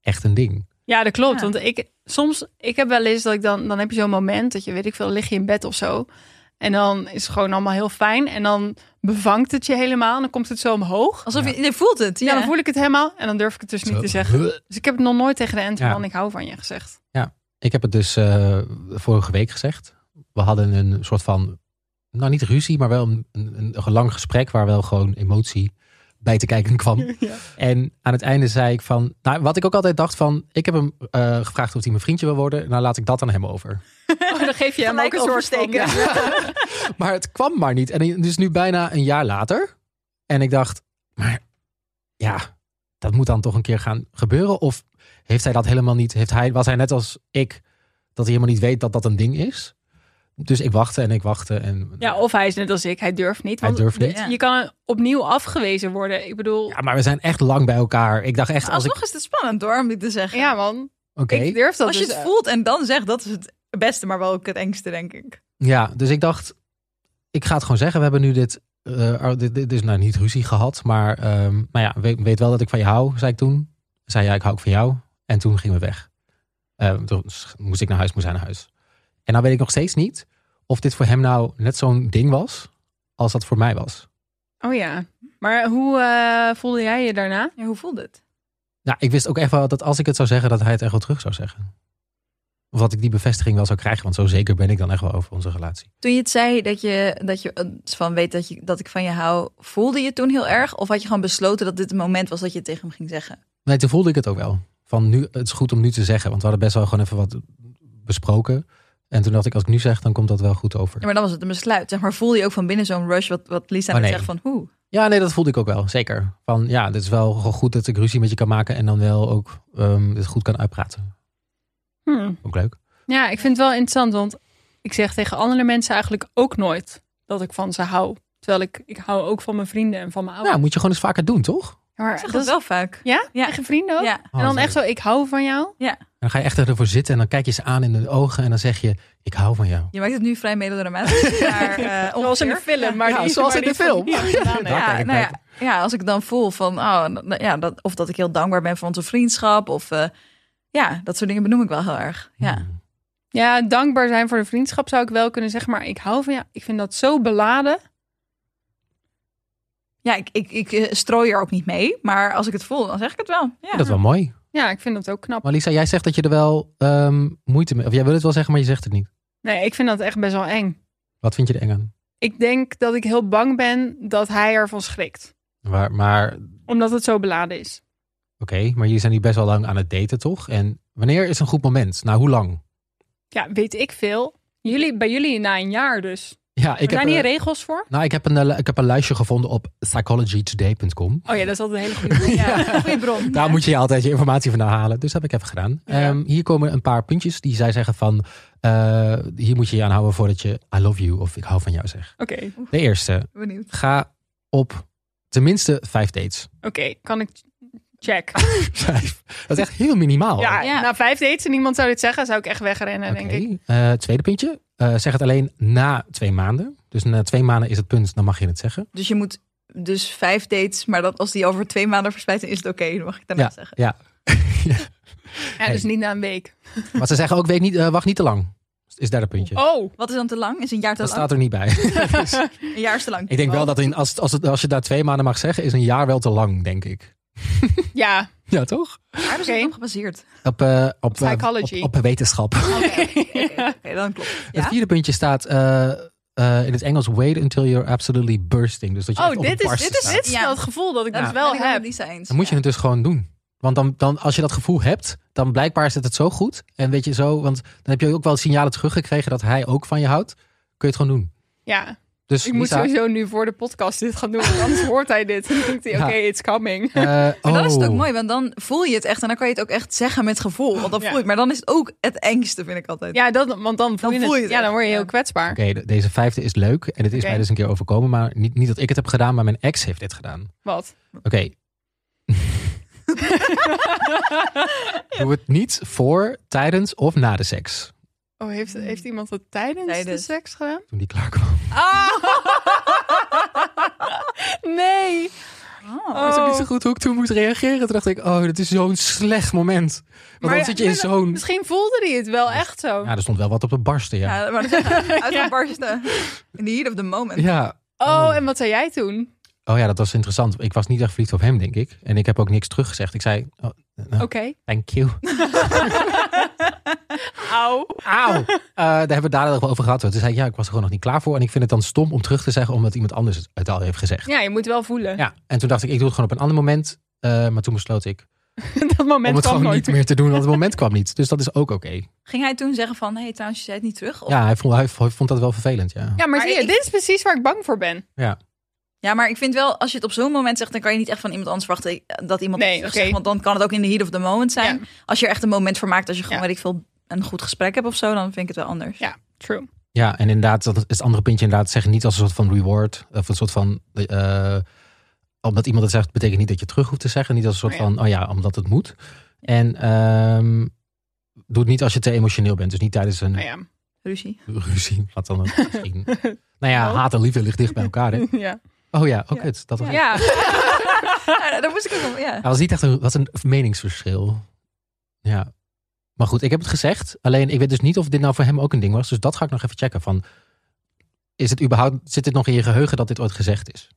[SPEAKER 3] echt een ding.
[SPEAKER 1] Ja, dat klopt.
[SPEAKER 2] Ja.
[SPEAKER 1] Want ik soms, ik heb wel eens dat ik dan, dan heb je zo'n moment dat je weet ik veel, lig je in bed of zo. En dan is het gewoon allemaal heel fijn. En dan bevangt het je helemaal. En dan komt het zo omhoog.
[SPEAKER 2] Alsof
[SPEAKER 3] Ja.
[SPEAKER 2] je, je voelt het. Ja,
[SPEAKER 1] Ja, dan voel ik het helemaal. En dan durf ik het dus niet
[SPEAKER 3] Zo,
[SPEAKER 1] te zeggen.
[SPEAKER 3] huh.
[SPEAKER 1] Dus ik heb het nog nooit tegen de enter
[SPEAKER 3] Ja.
[SPEAKER 1] van ik hou van je gezegd.
[SPEAKER 3] Ik heb het dus eh, vorige week gezegd. We hadden een soort van, nou niet ruzie, maar wel een, een, een lang gesprek waar wel gewoon emotie bij te kijken kwam.
[SPEAKER 1] Ja.
[SPEAKER 3] En aan het einde zei ik van, nou, wat ik ook altijd dacht van, ik heb hem eh, gevraagd of hij mijn vriendje wil worden. Nou, laat ik dat aan hem over.
[SPEAKER 1] Oh, dan geef je hem ook
[SPEAKER 2] Gelijk
[SPEAKER 1] een soort van,
[SPEAKER 2] oversteken.
[SPEAKER 1] ja.
[SPEAKER 3] Maar het kwam maar niet. En dus nu bijna een jaar later. En ik dacht, maar ja, dat moet dan toch een keer gaan gebeuren. Of heeft hij dat helemaal niet? Heeft hij, was hij net als ik, dat hij helemaal niet weet dat dat een ding is? Dus ik wachtte en ik wachtte. En,
[SPEAKER 1] Ja, of hij is net als ik. Hij durft niet.
[SPEAKER 3] Hij
[SPEAKER 1] Want
[SPEAKER 3] durft
[SPEAKER 1] de-
[SPEAKER 3] niet.
[SPEAKER 2] Ja.
[SPEAKER 1] Je kan opnieuw afgewezen worden. Ik bedoel, ja,
[SPEAKER 3] Ja, maar we zijn echt lang bij elkaar. Ik dacht echt,
[SPEAKER 2] Maar
[SPEAKER 3] als ik...
[SPEAKER 2] Dus Alsnog is het spannend hoor, om dit te zeggen.
[SPEAKER 1] man.
[SPEAKER 3] Oké,
[SPEAKER 1] Ik durf dat
[SPEAKER 2] Als je
[SPEAKER 1] dus,
[SPEAKER 2] het
[SPEAKER 1] eh,
[SPEAKER 2] voelt en dan zegt, dat is het beste, maar wel ook het engste, denk ik.
[SPEAKER 3] ja. Dus ik dacht, ik ga het gewoon zeggen, we hebben nu dit, eh, ar- dit, dit is nou niet ruzie gehad, maar ehm, nou ja, weet, weet wel dat ik van je hou, zei ik toen. Zei ja, ik hou ook van jou. En toen gingen we weg. Eh, toen moest ik naar huis, moest hij naar huis. En nou weet ik nog steeds niet of dit voor hem nou net zo'n ding was als dat voor mij was.
[SPEAKER 1] Oh ja. Maar hoe eh, voelde jij je daarna?
[SPEAKER 2] Ja, hoe voelde het?
[SPEAKER 3] Nou, ik wist ook echt wel dat als ik het zou zeggen, dat hij het echt wel terug zou zeggen. Of dat ik die bevestiging wel zou krijgen, want zo zeker ben ik dan echt wel over onze relatie.
[SPEAKER 2] Toen je het zei dat je, dat je eh, van weet dat, je, dat ik van je hou, voelde je het toen heel erg? Of had je gewoon besloten dat dit het moment was dat je het tegen hem ging zeggen?
[SPEAKER 3] Nee, toen voelde ik het ook wel. Van nu, het is goed om nu te zeggen, want we hadden best wel gewoon even wat besproken. En toen dacht ik, als ik nu zeg, dan komt dat wel goed over.
[SPEAKER 2] Ja, maar dan was het een besluit. Zeg maar, voelde je ook van binnen zo'n rush wat, wat Lisa
[SPEAKER 3] Oh,
[SPEAKER 2] net
[SPEAKER 3] nee.
[SPEAKER 2] zegt van hoe?
[SPEAKER 3] Ja, nee, dat voelde ik ook wel, zeker. Van ja, het is wel gewoon goed dat ik ruzie met je kan maken en dan wel ook ehm het goed kan uitpraten.
[SPEAKER 1] Hm.
[SPEAKER 3] Ook leuk.
[SPEAKER 1] Ja, ik vind het wel interessant, want ik zeg tegen andere mensen eigenlijk ook nooit dat ik van ze hou. Terwijl ik, ik hou ook van mijn vrienden en van mijn
[SPEAKER 3] Nou,
[SPEAKER 1] ouders.
[SPEAKER 3] moet je gewoon eens vaker doen, toch?
[SPEAKER 1] Ja,
[SPEAKER 3] En
[SPEAKER 1] maar
[SPEAKER 2] Ik zag
[SPEAKER 1] dat
[SPEAKER 2] dat
[SPEAKER 1] is-
[SPEAKER 2] wel vaak.
[SPEAKER 1] Ja?
[SPEAKER 2] Ja.
[SPEAKER 1] Eigen vrienden ook?
[SPEAKER 2] Ja,
[SPEAKER 3] Oh,
[SPEAKER 1] En dan echt zo, ik hou van jou.
[SPEAKER 3] dan ga je echt ervoor zitten en dan kijk je ze aan in de ogen en dan zeg je, ik hou van jou.
[SPEAKER 2] je maakt het nu vrij melodramatisch. maar, eh,
[SPEAKER 1] Zoals in de
[SPEAKER 2] ongeveer.
[SPEAKER 1] film. Maar
[SPEAKER 3] Ja,
[SPEAKER 1] die,
[SPEAKER 3] zoals
[SPEAKER 1] maar
[SPEAKER 3] in de
[SPEAKER 1] die van
[SPEAKER 3] film.
[SPEAKER 1] hier gedaan heeft.
[SPEAKER 3] Dat
[SPEAKER 2] Ja,
[SPEAKER 3] denk ik
[SPEAKER 2] nou
[SPEAKER 3] net.
[SPEAKER 2] ja, ja, als ik dan voel van, oh, n- n- ja, dat, of dat ik heel dankbaar ben voor onze vriendschap. Of eh, ja, dat soort dingen benoem ik wel heel erg. Ja.
[SPEAKER 3] Hmm.
[SPEAKER 1] Ja, dankbaar zijn voor de vriendschap zou ik wel kunnen zeggen. Maar ik hou van jou. Ik vind dat zo beladen.
[SPEAKER 2] Ja, ik, ik, ik eh, strooi er ook niet mee. Maar als ik het voel, dan zeg ik het wel. Ja.
[SPEAKER 3] Dat is wel mooi.
[SPEAKER 1] Ja, ik vind dat ook knap.
[SPEAKER 3] Maar Lisa, jij zegt dat je er wel ehm, moeite mee... Of jij wil het wel zeggen, maar je zegt het niet.
[SPEAKER 1] Nee, ik vind dat echt best wel eng.
[SPEAKER 3] Wat vind je er eng aan?
[SPEAKER 1] Ik denk dat ik heel bang ben dat hij ervan schrikt.
[SPEAKER 3] Maar, maar oké,
[SPEAKER 1] Omdat het zo beladen is.
[SPEAKER 3] maar jullie zijn nu best wel lang aan het daten, toch? En wanneer is een goed moment? Nou, hoe lang?
[SPEAKER 1] Ja, weet ik veel. Jullie, bij jullie na een jaar dus.
[SPEAKER 3] Ja,
[SPEAKER 1] er
[SPEAKER 3] ik heb,
[SPEAKER 1] zijn hier
[SPEAKER 3] eh,
[SPEAKER 1] regels voor.
[SPEAKER 3] nou, ik heb, een, eh, ik heb een lijstje gevonden op psychologytoday.com.
[SPEAKER 1] Oh ja, dat is altijd een hele goede.
[SPEAKER 2] Ja, goede bron.
[SPEAKER 3] Daar moet je je altijd je informatie vandaan halen. Dus dat heb ik even gedaan.
[SPEAKER 1] Ja.
[SPEAKER 3] Ehm, hier komen een paar puntjes die zij zeggen van... eh, hier moet je je aan houden voordat je I love you of ik hou van jou zegt.
[SPEAKER 1] Oké,
[SPEAKER 3] De eerste,
[SPEAKER 2] Benieuwd.
[SPEAKER 3] ga op tenminste vijf dates.
[SPEAKER 1] oké, kan ik check.
[SPEAKER 3] Vijf. Dat is echt heel minimaal.
[SPEAKER 1] ja,
[SPEAKER 2] Ja.
[SPEAKER 1] na vijf dates en iemand zou dit zeggen, zou ik echt wegrennen,
[SPEAKER 3] Oh. Oké.
[SPEAKER 1] denk ik.
[SPEAKER 3] Eh, tweede puntje. Eh, zeg het alleen na twee maanden. Dus na twee maanden is het punt, dan mag je het zeggen.
[SPEAKER 2] Dus je moet dus vijf dates, maar dat als die over twee maanden verspreid is het oké, dan mag ik daarna zeggen.
[SPEAKER 3] Ja.
[SPEAKER 1] Ja, dus niet na een week.
[SPEAKER 3] Maar ze zeggen ook, weet niet, eh, wacht niet te lang. Is het derde puntje.
[SPEAKER 1] Oh,
[SPEAKER 2] Wat is dan te lang? Is een jaar te
[SPEAKER 3] dat
[SPEAKER 2] lang?
[SPEAKER 3] staat er niet bij. Dus
[SPEAKER 2] Een jaar is te lang.
[SPEAKER 3] ik denk wel
[SPEAKER 2] Oh.
[SPEAKER 3] dat in, als, het- als, het, als je daar twee maanden mag zeggen, is een jaar wel te lang, denk ik.
[SPEAKER 1] ja.
[SPEAKER 3] Ja, toch?
[SPEAKER 2] Waar is
[SPEAKER 1] Oké.
[SPEAKER 2] het op gebaseerd?
[SPEAKER 3] Op, eh, op, eh,
[SPEAKER 1] Psychology.
[SPEAKER 3] op, op wetenschap.
[SPEAKER 2] Oké, oké, oké, oké, dan klopt.
[SPEAKER 3] Het
[SPEAKER 2] Ja?
[SPEAKER 3] vierde puntje staat eh, eh, in het Engels, wait until you're absolutely bursting. Dus dat je
[SPEAKER 1] Oh,
[SPEAKER 3] echt op
[SPEAKER 1] dit
[SPEAKER 3] het
[SPEAKER 1] is,
[SPEAKER 3] barsten
[SPEAKER 1] dit is,
[SPEAKER 3] staat.
[SPEAKER 1] dit is
[SPEAKER 2] Ja.
[SPEAKER 1] wel het gevoel dat ik
[SPEAKER 2] Dat
[SPEAKER 1] dus
[SPEAKER 2] ben
[SPEAKER 1] wel
[SPEAKER 2] ik wel met
[SPEAKER 1] heb.
[SPEAKER 2] Lisa eens.
[SPEAKER 3] Dan moet je
[SPEAKER 2] Ja.
[SPEAKER 3] het dus gewoon doen. Want dan, dan, als je dat gevoel hebt, dan blijkbaar zit het zo goed. En weet je zo, want dan heb je ook wel signalen teruggekregen dat hij ook van je houdt. Kun je het gewoon doen.
[SPEAKER 1] Ja,
[SPEAKER 3] Dus
[SPEAKER 1] ik moet
[SPEAKER 3] Lisa,
[SPEAKER 1] sowieso nu voor de podcast dit gaan doen. want Anders hoort hij dit. Dan denkt hij,
[SPEAKER 3] Ja.
[SPEAKER 1] oké, it's coming.
[SPEAKER 3] eh,
[SPEAKER 2] Maar dan is het ook
[SPEAKER 3] oh.
[SPEAKER 2] mooi, want dan voel je het echt en dan kan je het ook echt zeggen met gevoel. Want
[SPEAKER 1] Ja.
[SPEAKER 2] dan voel je het, maar dan is het ook het engste, vind ik altijd.
[SPEAKER 1] Ja, dat, want dan voel
[SPEAKER 2] Dan
[SPEAKER 1] je,
[SPEAKER 2] voel je
[SPEAKER 1] het.
[SPEAKER 2] het
[SPEAKER 1] Ja, dan
[SPEAKER 2] echt,
[SPEAKER 1] word je
[SPEAKER 2] ja.
[SPEAKER 1] heel kwetsbaar.
[SPEAKER 3] Oké, de- deze vijfde is leuk. En dit is
[SPEAKER 1] Oké.
[SPEAKER 3] mij dus een keer overkomen. Maar niet, niet dat ik het heb gedaan, maar mijn ex heeft dit gedaan.
[SPEAKER 1] Wat?
[SPEAKER 3] Oké. Doe het niet voor, tijdens of na de seks.
[SPEAKER 1] Oh, heeft, heeft iemand het tijdens, de
[SPEAKER 2] Tijdens.
[SPEAKER 1] seks gedaan?
[SPEAKER 3] Toen die klaar kwam.
[SPEAKER 2] Ah!
[SPEAKER 1] Nee.
[SPEAKER 2] Oh.
[SPEAKER 1] Oh.
[SPEAKER 3] Als ik niet zo goed hoe ik toen moest reageren, toen dacht ik, oh, dit is zo'n slecht moment. Want dan
[SPEAKER 1] ja,
[SPEAKER 3] zit je in
[SPEAKER 1] maar
[SPEAKER 3] zo'n...
[SPEAKER 1] Misschien voelde hij het wel echt zo.
[SPEAKER 3] Ja, er stond wel wat op de barsten, ja.
[SPEAKER 2] Ja, maar uitgebarsten. In the heat of the moment.
[SPEAKER 3] Ja.
[SPEAKER 1] Oh, en wat zei jij toen?
[SPEAKER 3] Oh ja, dat was interessant. Ik was niet echt verliefd op hem, denk ik. En ik heb ook niks teruggezegd. Ik zei, oh,
[SPEAKER 1] Oké.
[SPEAKER 3] thank you.
[SPEAKER 1] Auw.
[SPEAKER 3] Auw! Eh, daar hebben we het daar nog wel over gehad. Toen zei ik, ja, ik was er gewoon nog niet klaar voor. En ik vind het dan stom om terug te zeggen, omdat iemand anders het al heeft gezegd.
[SPEAKER 1] Ja, je moet wel voelen.
[SPEAKER 3] Ja, en toen dacht ik, ik doe het gewoon op een ander moment. Eh, maar toen besloot ik
[SPEAKER 1] dat moment
[SPEAKER 3] om het
[SPEAKER 1] kwam
[SPEAKER 3] gewoon niet
[SPEAKER 1] nooit meer.
[SPEAKER 3] meer te doen, want het moment kwam niet. Dus dat is ook oké.
[SPEAKER 2] Ging hij toen zeggen van, hé hey, trouwens, je zei het niet terug? Of- ja.
[SPEAKER 3] Ja, hij vond, hij vond dat wel vervelend, ja.
[SPEAKER 1] Oh. Ja, maar,
[SPEAKER 2] Maar
[SPEAKER 1] zie je,
[SPEAKER 2] ik-
[SPEAKER 1] dit is precies waar ik bang voor ben.
[SPEAKER 2] maar ik vind wel, als je het op zo'n moment zegt, dan kan je niet echt van iemand anders verwachten eh, dat iemand
[SPEAKER 1] Nee,
[SPEAKER 2] het terug
[SPEAKER 1] oké.
[SPEAKER 2] zegt, Want dan kan het ook in the heat of the moment zijn.
[SPEAKER 1] Ja.
[SPEAKER 2] Als je er echt een moment voor maakt, als je gewoon,
[SPEAKER 1] Ja.
[SPEAKER 2] weet ik veel, een goed gesprek hebt of zo, dan vind ik het wel anders.
[SPEAKER 1] Ja, true.
[SPEAKER 3] Ja, en inderdaad, dat is het andere puntje inderdaad, zeggen niet als een soort van reward. Of een soort van. eh, omdat iemand het zegt, betekent niet dat je het terug hoeft te zeggen. Niet als een soort
[SPEAKER 1] Oh
[SPEAKER 3] van, oh ja, omdat het moet. En ehm, doe het niet als je te emotioneel bent. Dus niet tijdens een.
[SPEAKER 1] Nou ja.
[SPEAKER 2] Ruzie.
[SPEAKER 3] Ruzie, wat dan ook misschien. nou ja,
[SPEAKER 1] Nou.
[SPEAKER 3] haat en liefde ligt dicht bij elkaar. Hè?
[SPEAKER 1] ja.
[SPEAKER 3] Oh ja, ook
[SPEAKER 1] Ja.
[SPEAKER 3] het. Dat was, ja.
[SPEAKER 2] Ja. ja, daar moest ik ook op. Ja.
[SPEAKER 3] was niet echt een, was een meningsverschil. Ja. Maar goed, ik heb het gezegd. Alleen ik weet dus niet of dit nou voor hem ook een ding was. Dus dat ga ik nog even checken. Van, is het überhaupt, zit dit nog in je geheugen dat dit ooit gezegd is?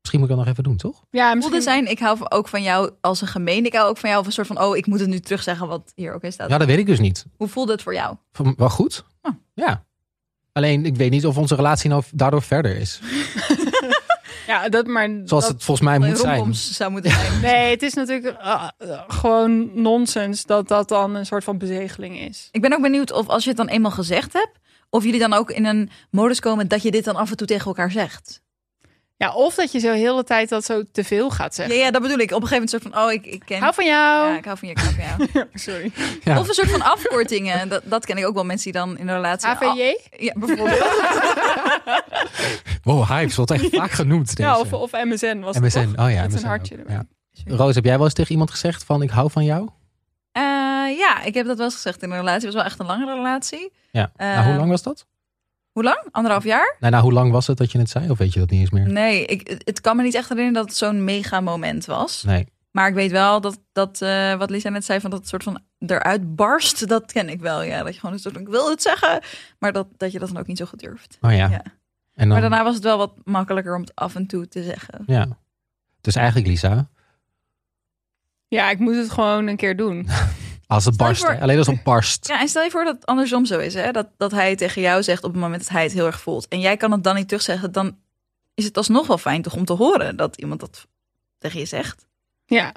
[SPEAKER 3] Misschien moet ik dat nog even doen, toch?
[SPEAKER 1] ja,
[SPEAKER 2] Het voelde
[SPEAKER 1] misschien...
[SPEAKER 2] zijn, ik hou ook van jou als een gemeen. Ik hou ook van jou als een soort van, oh, ik moet het nu terugzeggen wat hier ook in staat.
[SPEAKER 3] Ja, dat weet ik dus niet.
[SPEAKER 2] Hoe voelde het voor jou?
[SPEAKER 3] Van, wel goed.
[SPEAKER 2] Oh.
[SPEAKER 3] Ja. Alleen ik weet niet of onze relatie nou daardoor verder is.
[SPEAKER 1] Ja, dat maar...
[SPEAKER 3] Zoals
[SPEAKER 1] dat-
[SPEAKER 3] het volgens mij
[SPEAKER 2] Een
[SPEAKER 3] moet zijn.
[SPEAKER 2] romcoms zou moeten zijn.
[SPEAKER 1] Nee, het is natuurlijk ah, eh, gewoon nonsens dat dat dan een soort van bezegeling is.
[SPEAKER 2] Ik ben ook benieuwd of als je het dan eenmaal gezegd hebt, of jullie dan ook in een modus komen dat je dit dan af en toe tegen elkaar zegt.
[SPEAKER 1] Ja, of dat je zo heel de tijd dat zo te veel gaat
[SPEAKER 2] Ja,
[SPEAKER 1] zeggen.
[SPEAKER 2] ja, dat bedoel ik. Op een gegeven moment soort van, oh, ik, ik ken...
[SPEAKER 1] Hou van jou.
[SPEAKER 2] Ja, ik hou van je, ik hou van jou.
[SPEAKER 1] Sorry.
[SPEAKER 3] Oh. Ja.
[SPEAKER 2] Of een soort van afkortingen. Dat, dat ken ik ook wel mensen die dan in een relatie...
[SPEAKER 1] AVJ?
[SPEAKER 2] Ja, bijvoorbeeld.
[SPEAKER 3] Wow, hypes wordt echt vaak genoemd. Deze.
[SPEAKER 1] Ja, of, of MSN was het
[SPEAKER 3] MSN.
[SPEAKER 1] toch?
[SPEAKER 3] Oh ja,
[SPEAKER 1] Met een
[SPEAKER 3] MSN ook.
[SPEAKER 1] hartje erbij.
[SPEAKER 3] Ja. Roos, heb jij wel eens tegen iemand gezegd van ik hou van jou?
[SPEAKER 2] Eh, ja, ik heb dat wel eens gezegd in een relatie. Het was wel echt een langere relatie.
[SPEAKER 3] Ja.
[SPEAKER 2] Eh,
[SPEAKER 3] nou, hoe lang was dat?
[SPEAKER 2] Hoe lang? Anderhalf jaar?
[SPEAKER 3] Nou, nou, hoe lang was het dat je het zei? Of weet je dat niet eens meer?
[SPEAKER 2] Nee, ik, het- het kan me niet echt herinneren dat het zo'n mega moment was.
[SPEAKER 3] Nee.
[SPEAKER 2] Maar ik weet wel dat, dat eh, wat Lisa net zei, van dat het soort van eruit barst, dat ken ik wel. Ja, dat je gewoon een soort van, ik wil het zeggen, maar dat, dat je dat dan ook niet zo goed durft.
[SPEAKER 3] Oh ja.
[SPEAKER 2] Ja.
[SPEAKER 3] En dan,
[SPEAKER 2] Maar daarna was het wel wat makkelijker om het af en toe te zeggen.
[SPEAKER 3] Ja. Dus eigenlijk, Lisa,
[SPEAKER 1] Ja, ik moet het gewoon een keer doen.
[SPEAKER 3] als het
[SPEAKER 2] Stel je
[SPEAKER 3] barst.
[SPEAKER 2] voor-
[SPEAKER 3] hè? Alleen als het barst.
[SPEAKER 2] Ja, en stel je voor dat het andersom zo is, hè? Dat, dat hij het tegen jou zegt op het moment dat hij het heel erg voelt. En jij kan het dan niet terugzeggen, dan is het alsnog wel fijn toch om te horen dat iemand dat tegen je zegt.
[SPEAKER 1] Ja.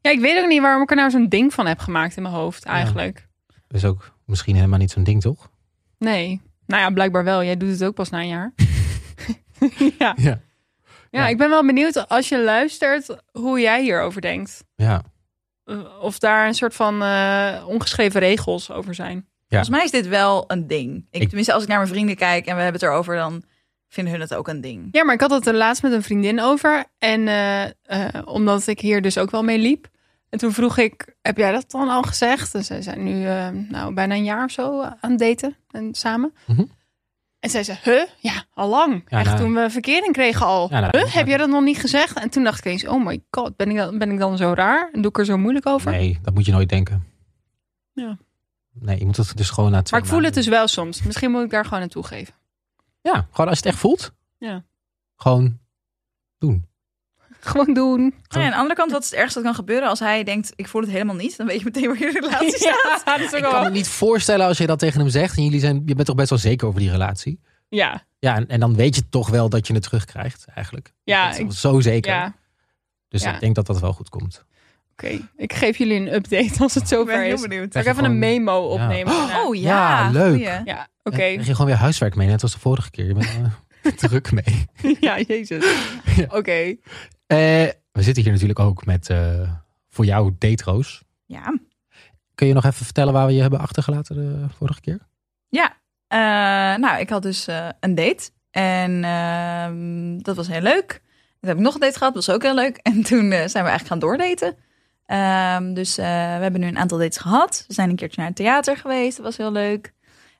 [SPEAKER 1] Ja, ik weet ook niet waarom ik er nou zo'n ding van heb gemaakt in mijn hoofd eigenlijk.
[SPEAKER 3] Is ook misschien helemaal niet zo'n ding, toch?
[SPEAKER 1] Nee. Nou ja, blijkbaar wel. Jij doet het ook pas na een jaar. ja.
[SPEAKER 3] Ja.
[SPEAKER 1] ja, ik ben wel benieuwd als je luistert hoe jij hierover denkt.
[SPEAKER 3] Ja.
[SPEAKER 1] Eh, Of daar een soort van eh, ongeschreven regels over zijn.
[SPEAKER 3] Ja.
[SPEAKER 2] Volgens mij is dit wel een ding. Ik,
[SPEAKER 3] Ik-
[SPEAKER 2] tenminste, als ik naar mijn vrienden kijk en we hebben het erover, dan vinden hun het ook een ding.
[SPEAKER 1] Ja, maar ik had het er laatst met een vriendin over. En eh, eh, omdat ik hier dus ook wel mee liep. En toen vroeg ik, heb jij dat dan al gezegd? En zij zijn nu eh, nou, bijna een jaar of zo aan het daten en samen.
[SPEAKER 3] Mhm.
[SPEAKER 1] En zij zei, huh? Ja, al lang.
[SPEAKER 3] Ja,
[SPEAKER 1] Echt
[SPEAKER 3] nou.
[SPEAKER 1] toen we verkering kregen al.
[SPEAKER 3] Ja, nou,
[SPEAKER 1] huh? Heb jij dat nog niet gezegd? En toen dacht ik eens, oh my god, ben ik dan, ben ik dan zo raar? En doe ik er zo moeilijk over?
[SPEAKER 3] Nee, dat moet je nooit denken.
[SPEAKER 1] Ja.
[SPEAKER 3] Nee, je moet het dus gewoon na twee
[SPEAKER 1] maar ik voel het
[SPEAKER 3] maanden
[SPEAKER 1] dus wel soms. Misschien moet ik daar gewoon aan toegeven.
[SPEAKER 3] doen. Ja, gewoon als je het echt voelt.
[SPEAKER 1] Ja.
[SPEAKER 3] Gewoon doen.
[SPEAKER 1] Gewoon doen.
[SPEAKER 2] Nou ja, aan de andere kant, wat is het ergste dat kan gebeuren als hij denkt, ik voel het helemaal niet, dan weet je meteen waar je relatie staat.
[SPEAKER 1] Ja, dat is ook
[SPEAKER 3] Ik kan me
[SPEAKER 1] wel...
[SPEAKER 3] niet voorstellen als je dat tegen hem zegt. En jullie zijn, je bent toch best wel zeker over die relatie.
[SPEAKER 1] Ja,
[SPEAKER 3] Ja, en, en dan weet je toch wel dat je het terugkrijgt, eigenlijk.
[SPEAKER 1] Ja,
[SPEAKER 3] Dat is
[SPEAKER 1] ik-
[SPEAKER 3] zo zeker.
[SPEAKER 1] ja.
[SPEAKER 3] dus
[SPEAKER 1] ja.
[SPEAKER 3] ik denk dat dat wel goed komt.
[SPEAKER 1] Oké, ik geef jullie een update als het
[SPEAKER 2] Ik ben
[SPEAKER 1] zover
[SPEAKER 2] heel
[SPEAKER 1] is.
[SPEAKER 2] benieuwd.
[SPEAKER 1] Zal ik even een
[SPEAKER 3] Even
[SPEAKER 1] memo opnemen? daarna?
[SPEAKER 2] Oh ja,
[SPEAKER 3] Ja, leuk.
[SPEAKER 2] goeie.
[SPEAKER 1] Ja, oké.
[SPEAKER 3] En dan ging je gewoon weer huiswerk mee, net als de vorige keer. Je bent eh, druk mee.
[SPEAKER 1] ja, jezus.
[SPEAKER 3] Ja.
[SPEAKER 1] Oké.
[SPEAKER 3] Eh, we zitten hier natuurlijk ook met, eh, voor jou, Deetroos.
[SPEAKER 2] Ja.
[SPEAKER 3] Kun je nog even vertellen waar we je hebben achtergelaten de vorige keer?
[SPEAKER 2] Ja, eh, nou, ik had dus eh, een date. En ehm, dat was heel leuk. Toen heb ik nog een date gehad, dat was ook heel leuk. En toen eh, zijn we eigenlijk gaan doordaten. Ehm, dus eh, we hebben nu een aantal dates gehad. We zijn een keertje naar het theater geweest, dat was heel leuk.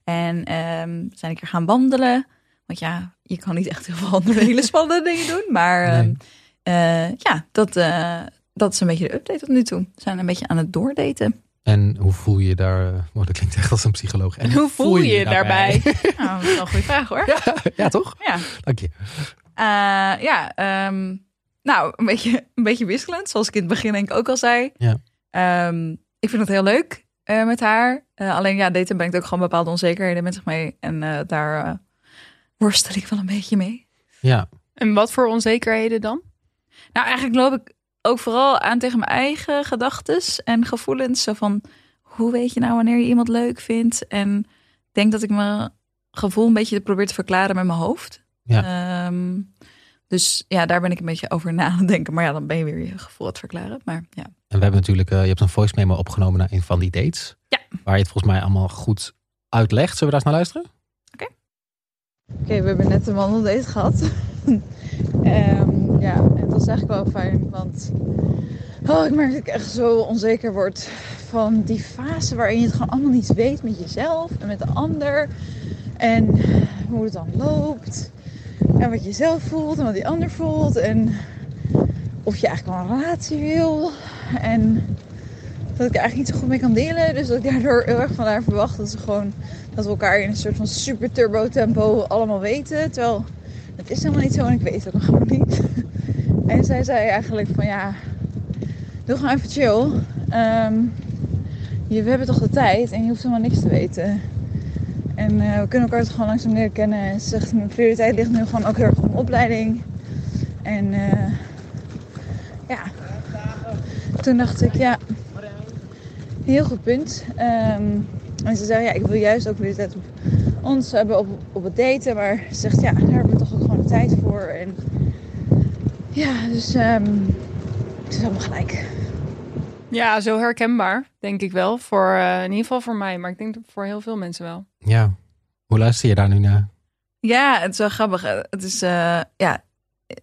[SPEAKER 2] En ehm, we zijn een keer gaan wandelen. Want ja, je kan niet echt heel veel andere hele spannende dingen doen. Maar ehm,
[SPEAKER 3] Nee.
[SPEAKER 2] eh, ja, dat, eh, dat is een beetje de update tot nu toe. We zijn een beetje aan het doordaten.
[SPEAKER 3] En hoe voel je je daar... eh, Oh, dat klinkt echt als een psycholoog. En
[SPEAKER 1] Hoe voel je je daarbij?
[SPEAKER 2] Nou, dat is wel een goede vraag hoor.
[SPEAKER 3] ja, toch?
[SPEAKER 2] Ja.
[SPEAKER 3] Dank je.
[SPEAKER 2] Eh, ja, ehm, nou, een beetje, een beetje wisselend, zoals ik in het begin denk ik ook al zei.
[SPEAKER 3] Ja.
[SPEAKER 2] Ehm, ik vind het heel leeg eh, met haar. Eh, alleen ja, daten brengt ook gewoon bepaalde onzekerheden met zich mee. En eh, daar eh, worstel ik wel een beetje mee.
[SPEAKER 3] Ja,
[SPEAKER 1] En wat voor onzekerheden dan?
[SPEAKER 2] Nou, eigenlijk loop ik ook vooral aan tegen mijn eigen gedachtes en gevoelens. Zo van, hoe weet je nou wanneer je iemand leuk vindt? En ik denk dat ik mijn gevoel een beetje probeer te verklaren met mijn hoofd. Ehm, dus ja, daar ben ik een beetje over na aan het denken. Maar ja, dan ben je weer je gevoel aan het verklaren. Maar ja,
[SPEAKER 3] En we hebben natuurlijk, eh, je hebt een voice memo opgenomen naar een van die dates.
[SPEAKER 2] Ja.
[SPEAKER 3] Waar je het volgens mij allemaal goed uitlegt. Zullen we daar eens naar luisteren?
[SPEAKER 2] Oké, we hebben net een wandeldate gehad. Ehm,
[SPEAKER 4] Ja, en dat is eigenlijk wel fijn, want oh, ik merk dat ik echt zo onzeker word van die fase waarin je het gewoon allemaal niet weet met jezelf en met de ander. En hoe het dan loopt. En wat je zelf voelt en wat die ander voelt. En of je eigenlijk wel een relatie wil. En dat ik er eigenlijk niet zo goed mee kan delen. Dus dat ik daardoor heel erg van haar verwacht dat ze gewoon dat we elkaar in een soort van super turbo tempo allemaal weten. Terwijl het is helemaal niet zo en ik weet het nog gewoon niet. En zij zei eigenlijk van ja, doe gewoon even chill. Ehm, je, we hebben toch de tijd en je hoeft helemaal niks te weten. En eh, we kunnen elkaar toch gewoon langzaam leren kennen. En ze zegt, mijn prioriteit ligt nu gewoon ook heel erg op mijn opleiding. En eh, ja, toen dacht ik ja, heel goed punt. Ehm, en ze zei ja, ik wil juist ook prioriteit op ons hebben op, op het daten. Maar ze zegt ja, daar hebben we toch ook gewoon de tijd voor. En ja, dus ehm het is allemaal gelijk.
[SPEAKER 1] Ja, zo herkenbaar, denk ik wel. Voor, eh, in ieder geval voor mij, maar ik denk voor heel veel mensen wel.
[SPEAKER 3] Ja. Hoe luister je daar nu naar?
[SPEAKER 2] Ja, het is wel grappig. Eh, Het is, eh, ja,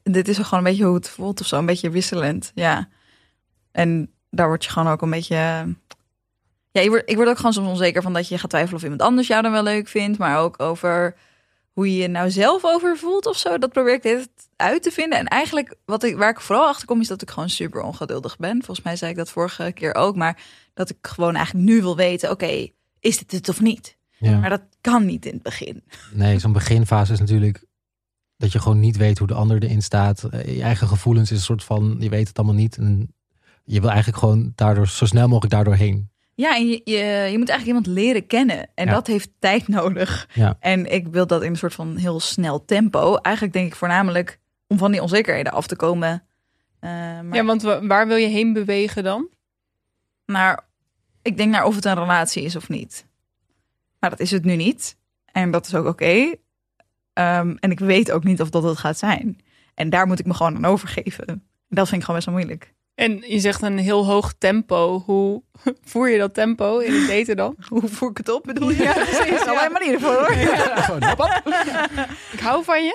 [SPEAKER 2] dit is gewoon een beetje hoe het voelt of zo. Een beetje wisselend, ja. En daar word je gewoon ook een beetje... eh, Ja, ik word, ik word ook gewoon soms onzeker van dat je gaat twijfelen of iemand anders jou dan wel leuk vindt. Maar ook over hoe je je nou zelf over voelt of zo. Dat probeer ik dit uit te vinden. En eigenlijk wat ik, waar ik vooral achter kom is dat ik gewoon super ongeduldig ben. Volgens mij zei ik dat vorige keer ook. Maar dat ik gewoon eigenlijk nu wil weten, oké, is dit het of niet?
[SPEAKER 3] Ja.
[SPEAKER 2] Maar dat kan niet in het begin.
[SPEAKER 3] Nee, zo'n beginfase is natuurlijk dat je gewoon niet weet hoe de ander erin staat. Eh, Je eigen gevoelens is een soort van, je weet het allemaal niet. En je wil eigenlijk gewoon daardoor, zo snel mogelijk daardoor heen.
[SPEAKER 2] Ja, en je, je, je moet eigenlijk iemand leren kennen. En
[SPEAKER 3] Ja.
[SPEAKER 2] dat heeft tijd nodig.
[SPEAKER 3] Ja.
[SPEAKER 2] En ik wil dat in een soort van heel snel tempo. Eigenlijk denk ik voornamelijk om van die onzekerheden af te komen. Eh, maar
[SPEAKER 1] Ja, want wa- waar wil je heen bewegen dan?
[SPEAKER 2] naar, ik denk naar of het een relatie is of niet. Maar dat is het nu niet. En dat is ook oké. Ehm, en ik weet ook niet of dat het gaat zijn. En daar moet ik me gewoon aan overgeven. En dat vind ik gewoon best wel moeilijk.
[SPEAKER 1] En je zegt een heel hoog tempo. Hoe voer je dat tempo in het daten dan?
[SPEAKER 2] Hoe voer ik het op bedoel je?
[SPEAKER 1] Ja,
[SPEAKER 2] Ja,
[SPEAKER 1] precies,
[SPEAKER 2] precies.
[SPEAKER 1] ja.
[SPEAKER 2] Allerlei manieren voor hoor.
[SPEAKER 3] Gewoon, hop, hop.
[SPEAKER 1] Ik hou van je.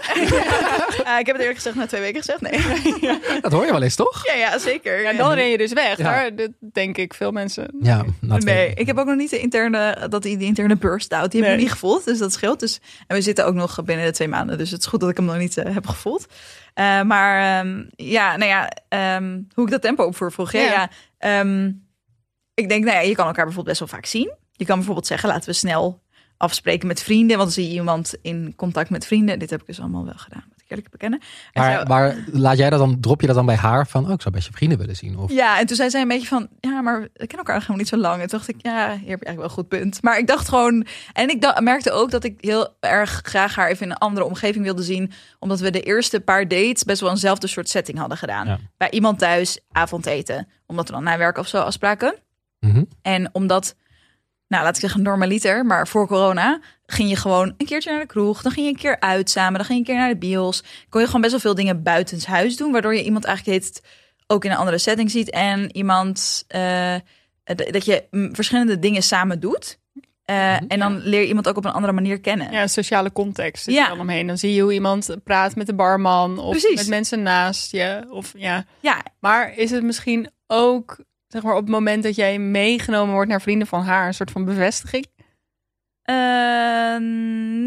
[SPEAKER 2] Eh, ik heb het eerlijk gezegd na twee weken gezegd. Nee.
[SPEAKER 3] Dat hoor je wel eens, toch?
[SPEAKER 2] Ja, ja zeker.
[SPEAKER 1] En dan ren je dus weg.
[SPEAKER 3] Ja.
[SPEAKER 1] Daar, dat denk ik veel mensen.
[SPEAKER 3] Ja, na twee-
[SPEAKER 2] Nee, ik heb ook nog niet de interne, dat die, die interne burst out. Die heb ik
[SPEAKER 1] Nee.
[SPEAKER 2] nog niet gevoeld, dus dat scheelt. Dus, en we zitten ook nog binnen de twee maanden, dus het is goed dat ik hem nog niet eh, heb gevoeld. Eh, maar ehm, ja, nou ja, ehm, hoe ik dat tempo opvoer vroeg. Ja,
[SPEAKER 1] Ja.
[SPEAKER 2] ja. ehm, ik denk, nou ja, je kan elkaar bijvoorbeeld best wel vaak zien. Je kan bijvoorbeeld zeggen, laten we snel afspreken met vrienden. Want dan zie je iemand in contact met vrienden. Dit heb ik dus allemaal wel gedaan, moet ik eerlijk bekennen. En zo-
[SPEAKER 3] Maar, maar laat jij dat dan, drop je dat dan bij haar van, oh, ik zou best je vrienden willen zien? Of,
[SPEAKER 2] Ja, en toen zei zij een beetje van, ja, maar we kennen elkaar helemaal niet zo lang. En toen dacht ik, ja, hier heb je eigenlijk wel een goed punt. Maar ik dacht gewoon, en ik da- merkte ook dat ik heel erg graag haar even in een andere omgeving wilde zien. Omdat we de eerste paar dates best wel eenzelfde soort setting hadden gedaan.
[SPEAKER 3] Ja.
[SPEAKER 2] Bij iemand thuis, avondeten. Omdat we dan na werk of zo afspraken.
[SPEAKER 3] Mhm.
[SPEAKER 2] En omdat, nou laat ik zeggen normaliter, maar voor corona ging je gewoon een keertje naar de kroeg. Dan ging je een keer uit samen. Dan ging je een keer naar de bios. Kon je gewoon best wel veel dingen buitenshuis doen. Waardoor je iemand eigenlijk heet ook in een andere setting ziet. En iemand, eh, d- dat je mm, verschillende dingen samen doet. Eh, En dan leer je iemand ook op een andere manier kennen.
[SPEAKER 1] Ja, sociale context zit
[SPEAKER 2] Ja.
[SPEAKER 1] er dan omheen. Dan zie je hoe iemand praat met de barman. Of
[SPEAKER 2] Precies.
[SPEAKER 1] met mensen naast je. Of, ja.
[SPEAKER 2] ja
[SPEAKER 1] Maar is het misschien ook zeg maar, op het moment dat jij meegenomen wordt naar vrienden van haar... een soort van bevestiging?
[SPEAKER 2] Eh,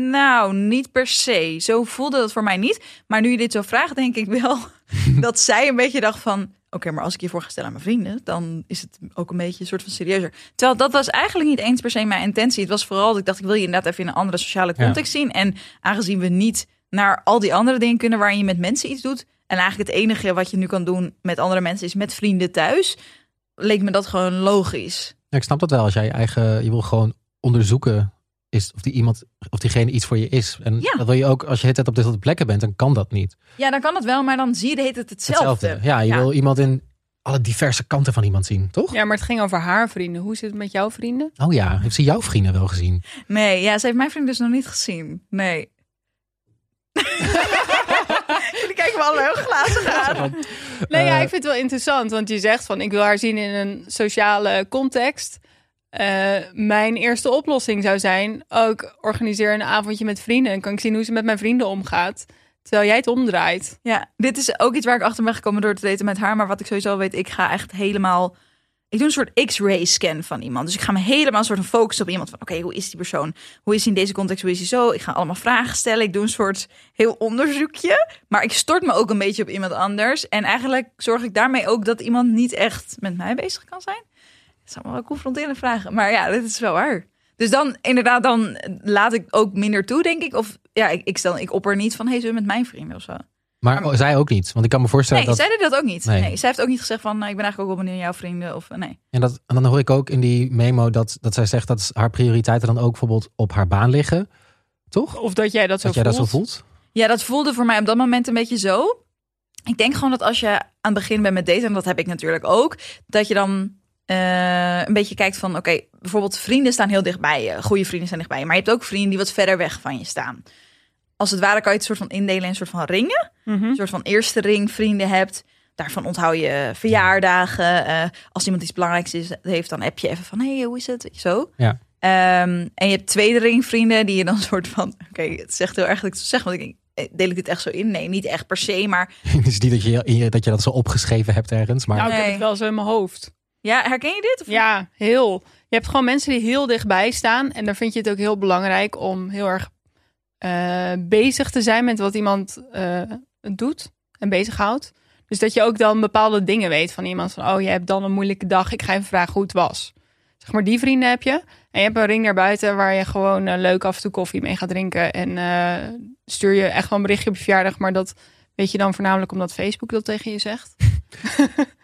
[SPEAKER 2] nou, niet per se. Zo voelde dat voor mij niet. Maar nu je dit zo vraagt, denk ik wel dat zij een beetje dacht van... Oké, maar als ik hiervoor ga stellen aan mijn vrienden, dan is het ook een beetje een soort van serieuzer. Terwijl dat was eigenlijk niet eens per se mijn intentie. Het was vooral dat ik dacht, ik wil je inderdaad even in een andere sociale
[SPEAKER 3] Ja.
[SPEAKER 2] context zien. En aangezien we niet naar al die andere dingen kunnen waarin je met mensen iets doet. En eigenlijk het enige wat je nu kan doen met andere mensen is met vrienden thuis. Leek me dat gewoon logisch.
[SPEAKER 3] Ja, ik snap dat wel. Als jij je eigen, je wil gewoon onderzoeken is of die iemand, of diegene iets voor je is. En
[SPEAKER 2] Ja.
[SPEAKER 3] dat wil je ook, als je het op dezelfde plekken bent, dan kan dat niet.
[SPEAKER 2] Ja, dan kan dat wel, maar dan zie je de hele tijd hetzelfde.
[SPEAKER 3] Ja, je wil iemand in alle diverse kanten van iemand zien, toch?
[SPEAKER 1] Ja, maar het ging over haar vrienden. Hoe zit het met jouw vrienden?
[SPEAKER 3] Oh ja, heeft ze jouw vrienden wel gezien?
[SPEAKER 2] Nee, ja, ze heeft mijn vriend dus nog niet gezien. Nee. Jullie kijken me alle heel glazig aan.
[SPEAKER 1] Nee, ja,
[SPEAKER 3] Eh,
[SPEAKER 1] ik vind het wel interessant. Want je zegt van, ik wil haar zien in een sociale context. Eh, mijn eerste oplossing zou zijn... ook organiseer een avondje met vrienden... en kan ik zien hoe ze met mijn vrienden omgaat. Terwijl jij het omdraait.
[SPEAKER 2] Ja, dit is ook iets waar ik achter ben gekomen door te daten met haar. Maar wat ik sowieso weet, ik ga echt helemaal... Ik doe een soort x-ray scan van iemand. Dus ik ga me helemaal een soort van focussen op iemand. Van oké, hoe is die persoon? Hoe is hij in deze context? Hoe is hij zo? Ik ga allemaal vragen stellen. Ik doe een soort heel onderzoekje. Maar ik stort me ook een beetje op iemand anders. En eigenlijk zorg ik daarmee ook dat iemand niet echt met mij bezig kan zijn. Dat zijn allemaal wel confronterende vragen. Maar ja, dit is wel waar. Dus dan inderdaad, dan laat ik ook minder toe, denk ik. Of ja, ik, ik stel, ik opper niet van, hey, zullen we met mijn vrienden of zo?
[SPEAKER 3] Maar
[SPEAKER 1] Ehm,
[SPEAKER 3] oh, zij ook niet. Want ik kan me voorstellen
[SPEAKER 2] Nee,
[SPEAKER 3] dat...
[SPEAKER 2] zij deed dat ook niet.
[SPEAKER 3] Nee.
[SPEAKER 2] Nee. zij heeft ook niet gezegd van, nou, ik ben eigenlijk ook wel benieuwd naar jouw vrienden. Of eh, nee.
[SPEAKER 3] En, dat, en dan hoor ik ook in die memo dat, dat zij zegt dat haar prioriteiten dan ook bijvoorbeeld op haar baan liggen. Toch?
[SPEAKER 1] Of dat jij dat zo
[SPEAKER 3] dat jij
[SPEAKER 1] voelt.
[SPEAKER 3] dat zo voelt?
[SPEAKER 2] Ja, dat voelde voor mij op dat moment een beetje zo. Ik denk gewoon dat als je aan het begin bent met daten, en dat heb ik natuurlijk ook, dat je dan eh, een beetje kijkt van, oké, bijvoorbeeld vrienden staan heel dichtbij je, goede vrienden staan dichtbij je, maar je hebt ook vrienden die wat verder weg van je staan. Als het ware kan je het soort van indelen in een soort van ringen.
[SPEAKER 1] Mhm.
[SPEAKER 2] een soort van eerste ring vrienden hebt. Daarvan onthoud je verjaardagen. Eh, als iemand iets belangrijks is, heeft, dan heb je even van... hé, hey, hoe is het? Weet je Zo.
[SPEAKER 3] Ja.
[SPEAKER 2] Ehm, en je hebt tweede ring vrienden die je dan soort van... Oké, het zegt heel erg dat ik het zeg, want ik denk... eh, Deel ik dit echt zo in? Nee, niet echt per se, maar
[SPEAKER 3] Het is niet dat je, in je- dat je dat zo opgeschreven hebt ergens. Maar
[SPEAKER 1] Nou, ik heb
[SPEAKER 2] Nee.
[SPEAKER 1] het wel zo in mijn hoofd.
[SPEAKER 2] ja, herken je dit? Of-
[SPEAKER 1] Ja, heel. Je hebt gewoon mensen die heel dichtbij staan. En daar vind je het ook heel belangrijk om heel erg eh, bezig te zijn met wat iemand eh, doet en bezighoudt. Dus dat je ook dan bepaalde dingen weet van iemand. Van, oh, je hebt dan een moeilijke dag. Ik ga even vragen hoe het was. Zeg maar, die vrienden heb je. En je hebt een ring daarbuiten waar je gewoon eh, leuk af en toe koffie mee gaat drinken. En eh, stuur je echt gewoon een berichtje op je verjaardag. Maar dat weet je dan voornamelijk omdat Facebook dat tegen je zegt.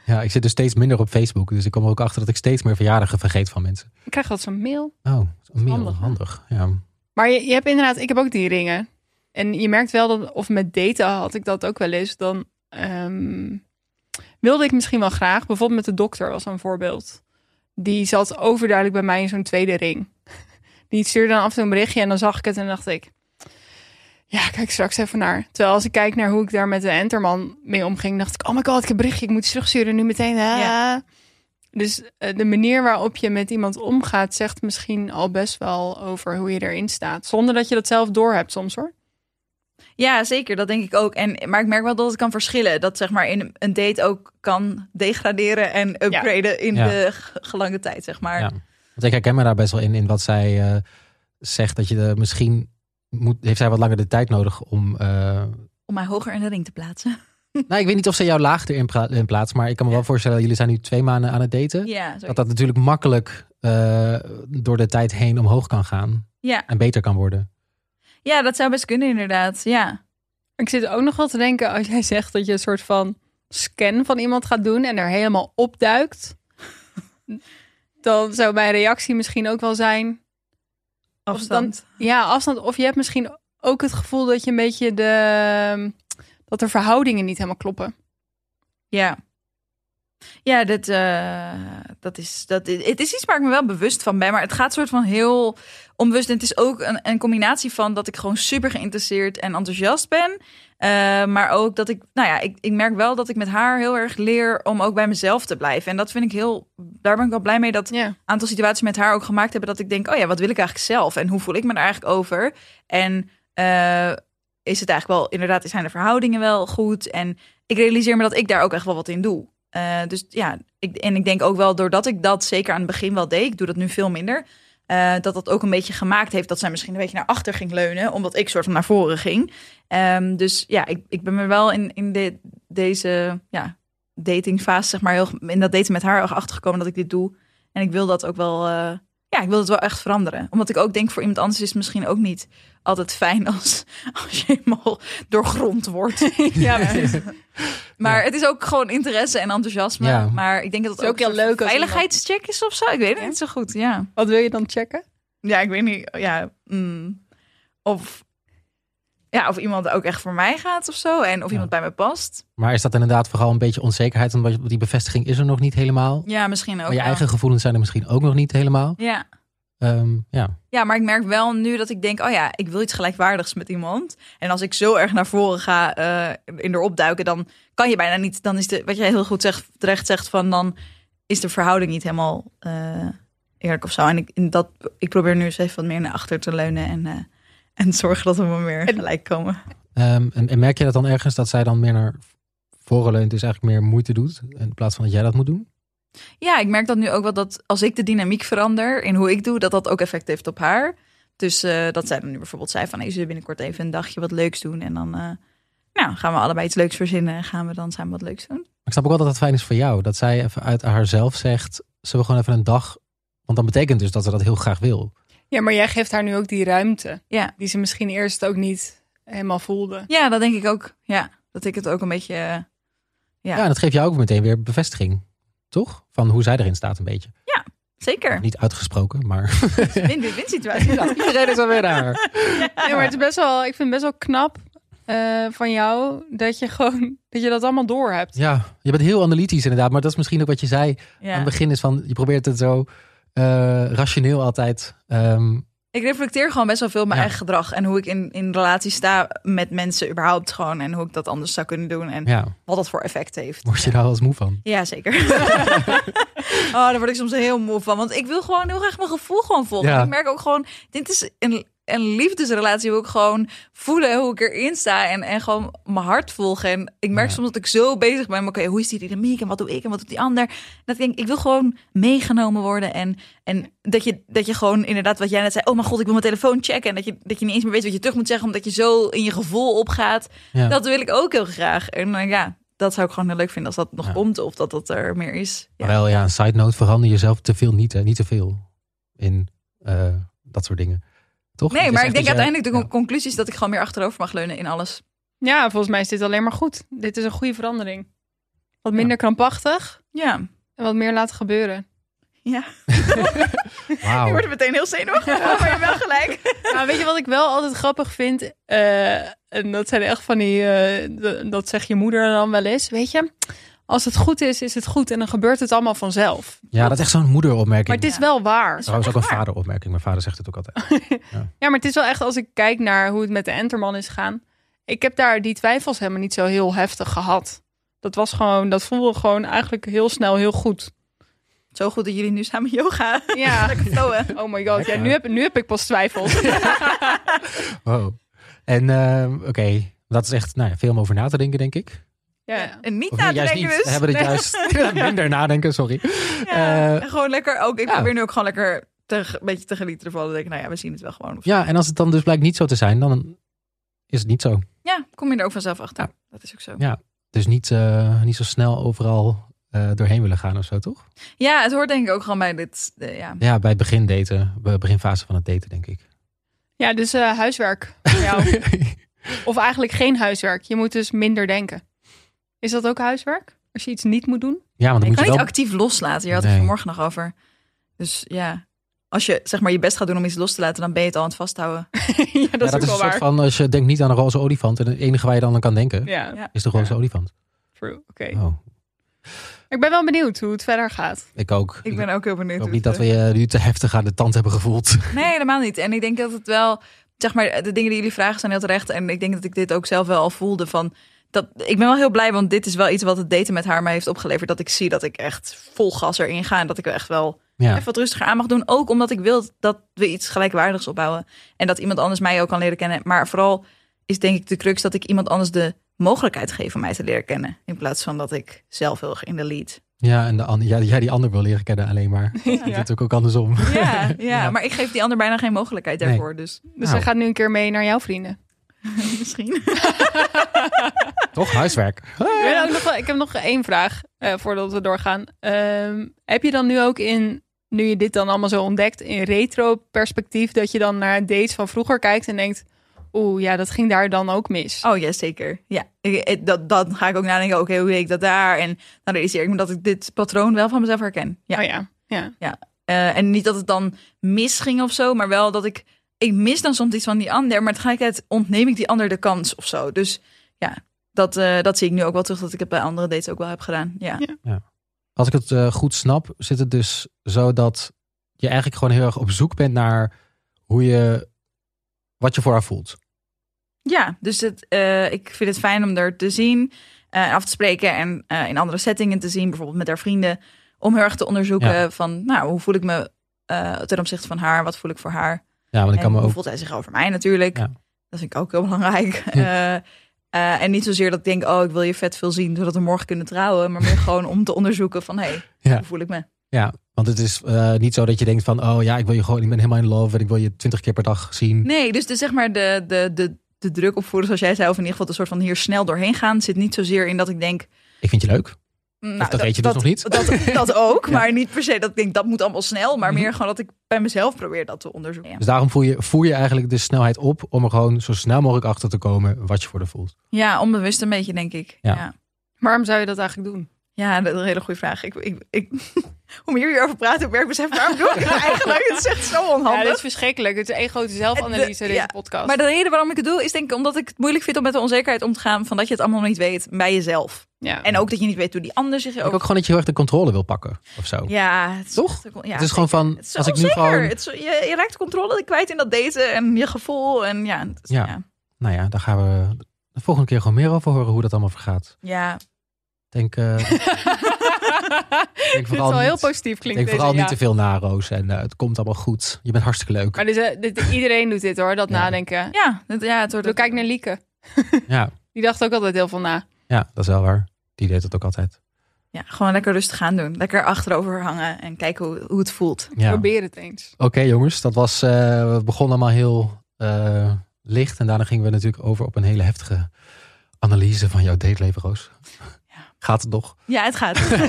[SPEAKER 3] ja, ik zit dus steeds minder op Facebook. Dus ik kom er ook achter dat ik steeds meer verjaardagen vergeet van mensen.
[SPEAKER 1] Ik krijg dat zo'n mail.
[SPEAKER 3] Oh, dat is meer
[SPEAKER 1] handig,
[SPEAKER 3] handig.
[SPEAKER 1] hè?
[SPEAKER 3] Ja.
[SPEAKER 1] Maar je, je hebt inderdaad, ik heb ook die ringen. En je merkt wel dat, of met daten had ik dat ook wel eens, dan ehm, wilde ik misschien wel graag, bijvoorbeeld met de dokter was een voorbeeld. Die zat overduidelijk bij mij in zo'n tweede ring. Die stuurde dan af en toe een berichtje en dan zag ik het en dacht ik, ja, kijk straks even naar. Terwijl als ik kijk naar hoe ik daar met de enterman mee omging, dacht ik, oh my god, ik heb een berichtje, ik moet het terugsturen nu meteen. hè.
[SPEAKER 2] Ja.
[SPEAKER 1] Dus eh, de manier waarop je met iemand omgaat, zegt misschien al best wel over hoe je erin staat. Zonder dat je dat zelf doorhebt soms hoor.
[SPEAKER 2] Ja, zeker. Dat denk ik ook. En, maar ik merk wel dat het kan verschillen. Dat zeg maar in een date ook kan degraderen en upgraden in
[SPEAKER 3] Ja.
[SPEAKER 2] de g- gelange tijd, zeg maar.
[SPEAKER 3] Ja. Want ik herken me daar best wel in, in wat zij eh, zegt. Dat je er misschien... Moet, heeft zij wat langer de tijd nodig om... eh,
[SPEAKER 2] Om mij hoger in de ring te plaatsen.
[SPEAKER 3] nou, ik weet niet of zij jou laag erin pra- in plaatst. Maar ik kan me wel voorstellen, jullie zijn nu twee maanden aan het daten.
[SPEAKER 2] Ja,
[SPEAKER 3] Dat
[SPEAKER 2] sorry.
[SPEAKER 3] dat natuurlijk makkelijk eh, door de tijd heen omhoog kan gaan.
[SPEAKER 2] ja.
[SPEAKER 3] En beter kan worden.
[SPEAKER 2] ja, dat zou best kunnen inderdaad. Ja.
[SPEAKER 1] Ik zit ook nog wel te denken als jij zegt dat je een soort van scan van iemand gaat doen en er helemaal opduikt. Dan zou mijn reactie misschien ook wel zijn.
[SPEAKER 2] Afstand.
[SPEAKER 1] Ja, afstand. Of je hebt misschien ook het gevoel dat je een beetje de. dat de verhoudingen niet helemaal kloppen.
[SPEAKER 2] Ja. Ja, dat, eh, dat is, dat, is- het is iets waar ik me wel bewust van ben. Maar het gaat soort van heel onbewust. En het is ook een, een combinatie van dat ik gewoon super geïnteresseerd en enthousiast ben. Eh, maar ook dat ik, nou ja, ik, ik merk wel dat ik met haar heel erg leer om ook bij mezelf te blijven. En dat vind ik heel, daar ben ik wel blij mee dat
[SPEAKER 1] Ja.
[SPEAKER 2] aantal situaties met haar ook gemaakt hebben dat ik denk, oh ja, wat wil ik eigenlijk zelf en hoe voel ik me daar eigenlijk over? En eh, is het eigenlijk wel, inderdaad, zijn de verhoudingen wel goed? En ik realiseer me dat ik daar ook echt wel wat in doe. Eh, dus ja, ik, en ik denk ook wel doordat ik dat zeker aan het begin wel deed, ik doe dat nu veel minder, eh, dat dat ook een beetje gemaakt heeft dat zij misschien een beetje naar achter ging leunen, omdat ik soort van naar voren ging. Ehm, dus ja, ik, ik ben me wel in, in de, deze ja, datingfase, zeg maar, heel, in dat daten met haar achtergekomen dat ik dit doe. En ik wil dat ook wel. eh, ja, ik wil het wel echt veranderen. Omdat ik ook denk voor iemand anders is het misschien ook niet altijd fijn als, als je helemaal doorgrond wordt.
[SPEAKER 1] ja, precies.
[SPEAKER 2] Maar het is ook gewoon interesse en enthousiasme.
[SPEAKER 3] Ja.
[SPEAKER 2] Maar ik denk dat het,
[SPEAKER 1] Het is ook
[SPEAKER 2] een
[SPEAKER 1] heel
[SPEAKER 2] soort
[SPEAKER 1] leuk als
[SPEAKER 2] veiligheidscheck is of zo. Ik weet het
[SPEAKER 1] Ja?
[SPEAKER 2] niet zo goed. Ja,
[SPEAKER 1] Wat wil je dan checken?
[SPEAKER 2] ja ik weet niet. Ja, mm. of, ja, of iemand ook echt voor mij gaat of zo. En of
[SPEAKER 3] Ja.
[SPEAKER 2] iemand bij me past.
[SPEAKER 3] Maar is dat inderdaad vooral een beetje onzekerheid? Want die bevestiging is er nog niet helemaal.
[SPEAKER 2] Ja, misschien ook.
[SPEAKER 3] maar je
[SPEAKER 2] wel.
[SPEAKER 3] eigen gevoelens zijn er misschien ook nog niet helemaal.
[SPEAKER 2] Ja.
[SPEAKER 3] Ehm, ja.
[SPEAKER 2] Ja, maar ik merk wel nu dat ik denk, oh ja, ik wil iets gelijkwaardigs met iemand. En als ik zo erg naar voren ga eh in erop duiken, dan kan je bijna niet. Dan is de, wat jij heel goed zegt, terecht zegt van, dan is de verhouding niet helemaal eh, eerlijk of zo. En ik, in dat, ik probeer nu eens even wat meer naar achter te leunen en, eh, en zorgen dat we wat meer
[SPEAKER 1] En-
[SPEAKER 2] gelijk komen.
[SPEAKER 3] Ehm, en, en merk je dat dan ergens dat zij dan meer naar voren leunt, dus eigenlijk meer moeite doet, in plaats van dat jij dat moet doen?
[SPEAKER 2] Ja, ik merk dat nu ook wel dat als ik de dynamiek verander in hoe ik doe, dat dat ook effect heeft op haar. Dus eh, dat zij dan nu bijvoorbeeld zei van, hey, zullen we binnenkort even een dagje wat leuks doen? En dan eh, nou, gaan we allebei iets leuks verzinnen en gaan we dan samen wat leuks doen.
[SPEAKER 3] Maar ik snap ook wel dat het fijn is voor jou, dat zij even uit haarzelf zegt, ze wil gewoon even een dag, want dan betekent dus dat ze dat heel graag wil.
[SPEAKER 1] Ja, maar jij geeft haar nu ook die ruimte.
[SPEAKER 2] Ja.
[SPEAKER 1] Die ze misschien eerst ook niet helemaal voelde.
[SPEAKER 2] Ja, dat denk ik ook. Ja, dat ik het ook een beetje... eh,
[SPEAKER 3] Ja,
[SPEAKER 2] Ja.
[SPEAKER 3] en dat geeft jou ook meteen weer bevestiging, toch? Van hoe zij erin staat een beetje.
[SPEAKER 2] zeker.
[SPEAKER 3] Niet uitgesproken, maar
[SPEAKER 2] Win-win-win situatie. Ja.
[SPEAKER 3] iedereen is alweer daar.
[SPEAKER 1] Ja, maar het is best wel, ik vind het best wel knap eh, van jou dat je gewoon dat je dat allemaal door hebt.
[SPEAKER 3] Ja, je bent heel analytisch inderdaad, maar dat is misschien ook wat je zei aan het begin is van, je probeert het zo eh, rationeel altijd. ehm,
[SPEAKER 2] Ik reflecteer gewoon best wel veel op mijn
[SPEAKER 3] Ja.
[SPEAKER 2] eigen gedrag en hoe ik in, in relatie sta met mensen überhaupt gewoon en hoe ik dat anders zou kunnen doen en
[SPEAKER 3] ja,
[SPEAKER 2] wat dat voor effect heeft.
[SPEAKER 3] word je daar wel eens moe van?
[SPEAKER 2] Ja, zeker. oh, daar word ik soms heel moe van. Want ik wil gewoon heel graag mijn gevoel gewoon volgen.
[SPEAKER 3] Ja.
[SPEAKER 2] Ik merk ook gewoon, dit is een, een liefdesrelatie. Wil ik gewoon voelen hoe ik erin sta en, en gewoon mijn hart volgen. En ik merk
[SPEAKER 3] Ja.
[SPEAKER 2] soms dat ik zo bezig ben. met, Oké, hoe is die dynamiek en wat doe ik en wat doet die ander? Dat ik denk, ik wil gewoon meegenomen worden. En, en dat, je, dat je gewoon inderdaad, wat jij net zei. Oh mijn god, ik wil mijn telefoon checken. En dat je, dat je niet eens meer weet wat je terug moet zeggen. Omdat je zo in je gevoel opgaat.
[SPEAKER 3] Ja.
[SPEAKER 2] Dat wil ik ook heel graag. En eh, ja, dat zou ik gewoon heel leuk vinden als dat nog
[SPEAKER 3] Ja.
[SPEAKER 2] komt of dat dat er meer is. Ja.
[SPEAKER 3] Maar Wel ja, een side note, verander jezelf te veel niet, hè? Niet te veel in eh, dat soort dingen. Toch?
[SPEAKER 2] nee,
[SPEAKER 3] Je
[SPEAKER 2] maar ik
[SPEAKER 3] zegt
[SPEAKER 2] denk
[SPEAKER 3] dus, eh,
[SPEAKER 2] uiteindelijk de
[SPEAKER 3] ja.
[SPEAKER 2] con- conclusie is dat ik gewoon meer achterover mag leunen in alles.
[SPEAKER 1] Ja, volgens mij is dit alleen maar goed. Dit is een goede verandering. Wat minder
[SPEAKER 3] Ja.
[SPEAKER 1] krampachtig
[SPEAKER 2] Ja.
[SPEAKER 1] en wat meer laten gebeuren.
[SPEAKER 2] Ja.
[SPEAKER 3] Oh. Wauw.
[SPEAKER 2] Je wordt er meteen heel zenuwachtig van, maar je hebt wel gelijk.
[SPEAKER 1] Nou, weet je wat ik wel altijd grappig vind? Eh, en dat zijn echt van die, eh, d- dat zegt je moeder dan wel eens. Weet je, als het goed is, is het goed en dan gebeurt het allemaal vanzelf.
[SPEAKER 3] Ja, dat is echt zo'n moederopmerking.
[SPEAKER 1] Maar het is
[SPEAKER 2] Ja.
[SPEAKER 1] wel waar.
[SPEAKER 3] Trouwens ook een
[SPEAKER 2] echt waar.
[SPEAKER 3] vaderopmerking. Mijn vader zegt het ook altijd.
[SPEAKER 1] Dus- Ja, maar het is wel echt als ik kijk naar hoe het met de Enterman is gegaan. Ik heb daar die twijfels helemaal niet zo heel heftig gehad. Dat was gewoon, dat voelde gewoon eigenlijk heel snel heel goed.
[SPEAKER 2] Zo goed dat jullie nu samen yoga
[SPEAKER 1] Ja.
[SPEAKER 2] lekker flowen.
[SPEAKER 1] Oh my god, ja, nu, heb, nu heb ik pas twijfels.
[SPEAKER 3] Wow. Oh. En ehm, oké, dat is echt nou, ja, veel om over na te denken, denk ik.
[SPEAKER 1] Ja.
[SPEAKER 2] En niet
[SPEAKER 3] Of
[SPEAKER 2] na
[SPEAKER 3] nee,
[SPEAKER 2] te
[SPEAKER 3] juist
[SPEAKER 2] denken
[SPEAKER 3] niet.
[SPEAKER 2] dus.
[SPEAKER 3] We hebben het
[SPEAKER 2] Nee.
[SPEAKER 3] juist minder nadenken, sorry.
[SPEAKER 2] Ja.
[SPEAKER 3] Eh,
[SPEAKER 2] En gewoon lekker ook. Ik
[SPEAKER 3] ja.
[SPEAKER 2] probeer nu ook gewoon lekker te, een beetje te genieten ervan. Dan denk ik, nou ja, we zien het wel gewoon.
[SPEAKER 3] Ja, en als het dan dus blijkt niet zo te zijn, dan is het niet zo.
[SPEAKER 2] Ja, kom je er ook vanzelf achter. Dat is ook zo.
[SPEAKER 3] Ja. Dus niet, eh, niet zo snel overal eh, doorheen willen gaan of zo, toch?
[SPEAKER 2] Ja, het hoort denk ik ook gewoon bij dit. eh, ja.
[SPEAKER 3] Ja, bij het begin daten, bij de beginfase van het daten, denk ik.
[SPEAKER 1] ja, dus eh, huiswerk voor jou. Of eigenlijk geen huiswerk. Je moet dus minder denken. Is dat ook huiswerk? Als je iets niet moet doen?
[SPEAKER 3] ja, want
[SPEAKER 2] Ik
[SPEAKER 3] dan moet
[SPEAKER 2] kan
[SPEAKER 3] je
[SPEAKER 2] niet
[SPEAKER 3] wel...
[SPEAKER 2] actief loslaten. Je had het
[SPEAKER 3] Nee.
[SPEAKER 2] vanmorgen nog over. Dus ja, als je zeg maar je best gaat doen om iets los te laten, dan ben je het al aan het vasthouden.
[SPEAKER 1] ja, dat
[SPEAKER 3] Ja,
[SPEAKER 1] is
[SPEAKER 3] dat
[SPEAKER 1] ook
[SPEAKER 3] is een
[SPEAKER 1] wel waar.
[SPEAKER 3] soort van, als je denkt niet aan een roze olifant, en het enige waar je dan aan kan denken,
[SPEAKER 1] Ja,
[SPEAKER 2] Ja.
[SPEAKER 3] is de roze olifant.
[SPEAKER 1] true. Oké.
[SPEAKER 3] Oh,
[SPEAKER 1] Ik ben wel benieuwd hoe het verder gaat.
[SPEAKER 3] ik ook.
[SPEAKER 2] Ik ben ook heel benieuwd.
[SPEAKER 3] hoop
[SPEAKER 2] hoe
[SPEAKER 3] niet
[SPEAKER 2] het,
[SPEAKER 3] dat we je nu te heftig aan de tand hebben gevoeld.
[SPEAKER 2] eh, Nee, helemaal niet. En ik denk dat het wel, zeg maar, de dingen die jullie vragen zijn heel terecht. En ik denk dat ik dit ook zelf wel al voelde van. Dat, ik ben wel heel blij, want dit is wel iets wat het daten met haar mij heeft opgeleverd. Dat ik zie dat ik echt vol gas erin ga. En dat ik er echt wel
[SPEAKER 3] Ja,
[SPEAKER 2] even wat rustiger aan mag doen. Ook omdat ik wil dat we iets gelijkwaardigs opbouwen. En dat iemand anders mij ook kan leren kennen. Maar vooral is denk ik de crux dat ik iemand anders de mogelijkheid geef om mij te leren kennen. In plaats van dat ik zelf heel erg in de lead.
[SPEAKER 3] ja en de ander, ja, jij die ander wil leren kennen alleen maar. Dat is natuurlijk ook andersom.
[SPEAKER 2] Ja, ja, maar ik geef die ander bijna geen mogelijkheid
[SPEAKER 3] Nee.
[SPEAKER 2] daarvoor. Dus
[SPEAKER 1] Dus
[SPEAKER 3] Nou.
[SPEAKER 1] hij gaat nu een keer mee naar jouw vrienden.
[SPEAKER 2] misschien.
[SPEAKER 3] Toch? Huiswerk.
[SPEAKER 1] Ik, ben ook nog wel- ik heb nog één vraag eh, voordat we doorgaan. Ehm, heb je dan nu ook in, nu je dit dan allemaal zo ontdekt, in retro perspectief, dat je dan naar dates van vroeger kijkt en denkt, oeh ja, dat ging daar dan ook mis?
[SPEAKER 2] Oh ja, zeker. Ja, ik- ik- dat, dan ga ik ook nadenken. Oké, hoe deed ik dat daar? En dan realiseer ik me dat ik dit patroon wel van mezelf herken. Ja.
[SPEAKER 1] Oh ja. ja.
[SPEAKER 2] Eh, en niet dat het dan misging of zo, maar wel dat ik. Ik mis dan soms iets van die ander, maar tegelijkertijd ontneem ik die ander de kans of zo. Dus ja, dat, eh, dat zie ik nu ook wel terug dat ik het bij andere dates ook wel heb gedaan. Ja,
[SPEAKER 1] Ja.
[SPEAKER 3] Als ik het eh, goed snap, zit het dus zo dat je eigenlijk gewoon heel erg op zoek bent naar hoe je, wat je voor haar voelt.
[SPEAKER 2] ja dus het, eh, ik vind het fijn om er te zien, eh, af te spreken en eh, in andere settingen te zien, bijvoorbeeld met haar vrienden, om heel erg te onderzoeken van, nou, hoe voel ik me eh, ten opzichte van haar, wat voel ik voor haar.
[SPEAKER 3] Ja, want ik
[SPEAKER 2] En
[SPEAKER 3] kan me
[SPEAKER 2] hoe
[SPEAKER 3] ook
[SPEAKER 2] voelt hij zich over mij natuurlijk.
[SPEAKER 3] Ja.
[SPEAKER 2] Dat vind ik ook heel belangrijk. Eh, eh, en niet zozeer dat ik denk, oh, ik wil je vet veel zien, zodat we morgen kunnen trouwen. Maar meer gewoon om te onderzoeken van, hé, hey,
[SPEAKER 3] Ja.
[SPEAKER 2] hoe voel ik me?
[SPEAKER 3] Ja, want het is eh, niet zo dat je denkt van, oh ja, ik wil je gewoon, ik ben helemaal in love en ik wil je twintig keer per dag zien.
[SPEAKER 2] Nee, dus, dus zeg maar de, de, de, de druk opvoeren, zoals jij zei, of in ieder geval de soort van hier snel doorheen gaan, zit niet zozeer in dat ik denk,
[SPEAKER 3] Ik vind je leuk.
[SPEAKER 2] Nou,
[SPEAKER 3] dat weet je dus nog niet.
[SPEAKER 2] Dat, dat ook, maar niet per se dat ik denk dat moet allemaal snel, maar
[SPEAKER 3] Mhm.
[SPEAKER 2] meer gewoon dat ik bij mezelf probeer dat te onderzoeken. Ja,
[SPEAKER 3] Dus daarom voer je, voer je eigenlijk de snelheid op om er gewoon zo snel mogelijk achter te komen wat je voor de voelt.
[SPEAKER 2] onbewust een beetje, denk ik.
[SPEAKER 3] Ja.
[SPEAKER 2] Ja, ja.
[SPEAKER 1] Waarom zou je dat eigenlijk doen?
[SPEAKER 2] dat is een hele goede vraag. Ik, ik, ik, hoe meer we hierover praten, hoe meer ik besef, waarom doe ik het eigenlijk? Het is echt zo
[SPEAKER 1] Ja, dit
[SPEAKER 2] onhandig.
[SPEAKER 1] is verschrikkelijk. Het is één grote zelfanalyse,
[SPEAKER 2] En de-
[SPEAKER 1] deze
[SPEAKER 2] ja,
[SPEAKER 1] podcast.
[SPEAKER 2] maar de reden waarom ik het doe, is denk ik omdat ik het moeilijk vind om met de onzekerheid om te gaan van dat je het allemaal niet weet bij jezelf.
[SPEAKER 1] ja.
[SPEAKER 2] En ook dat je niet weet hoe die ander zich
[SPEAKER 3] Ik ook
[SPEAKER 2] ook...
[SPEAKER 3] gewoon dat je heel erg de controle wil pakken of zo.
[SPEAKER 2] Ja, het is
[SPEAKER 3] Toch?
[SPEAKER 2] echt- ja,
[SPEAKER 3] het is gewoon van,
[SPEAKER 2] Het is
[SPEAKER 3] als ik nu
[SPEAKER 2] onzeker.
[SPEAKER 3] gewoon,
[SPEAKER 2] Het is- je, je raakt de controle kwijt in dat daten en je gevoel. En ja, het is-
[SPEAKER 3] Ja.
[SPEAKER 2] ja.
[SPEAKER 3] nou ja, daar gaan we de volgende keer gewoon meer over horen hoe dat allemaal vergaat.
[SPEAKER 2] ja.
[SPEAKER 3] Denk, eh, denk
[SPEAKER 1] Dit is
[SPEAKER 3] vooral
[SPEAKER 1] wel heel
[SPEAKER 3] niet,
[SPEAKER 1] positief klinkt
[SPEAKER 3] denk
[SPEAKER 1] deze,
[SPEAKER 3] vooral
[SPEAKER 1] ja.
[SPEAKER 3] niet te veel na, Roos. En eh, het komt allemaal goed. Je bent hartstikke leuk.
[SPEAKER 1] Maar dit, is, eh, dit- iedereen doet dit hoor, dat
[SPEAKER 3] Ja.
[SPEAKER 1] nadenken.
[SPEAKER 2] Ja, het, ja, het wordt
[SPEAKER 1] Doe kijk naar Lieke.
[SPEAKER 3] Ja,
[SPEAKER 1] Die dacht ook altijd heel veel na.
[SPEAKER 3] ja, dat is wel waar. Die deed het ook altijd.
[SPEAKER 2] ja, gewoon lekker rustig aan doen. Lekker achterover hangen en kijken hoe, hoe het voelt.
[SPEAKER 3] Ja.
[SPEAKER 1] Probeer het eens.
[SPEAKER 3] Oké jongens, dat was, eh, we begonnen allemaal heel eh, licht en daarna gingen we natuurlijk over op een hele heftige analyse van jouw dateleven, Roos. Gaat het nog?
[SPEAKER 2] Ja, het gaat. hey,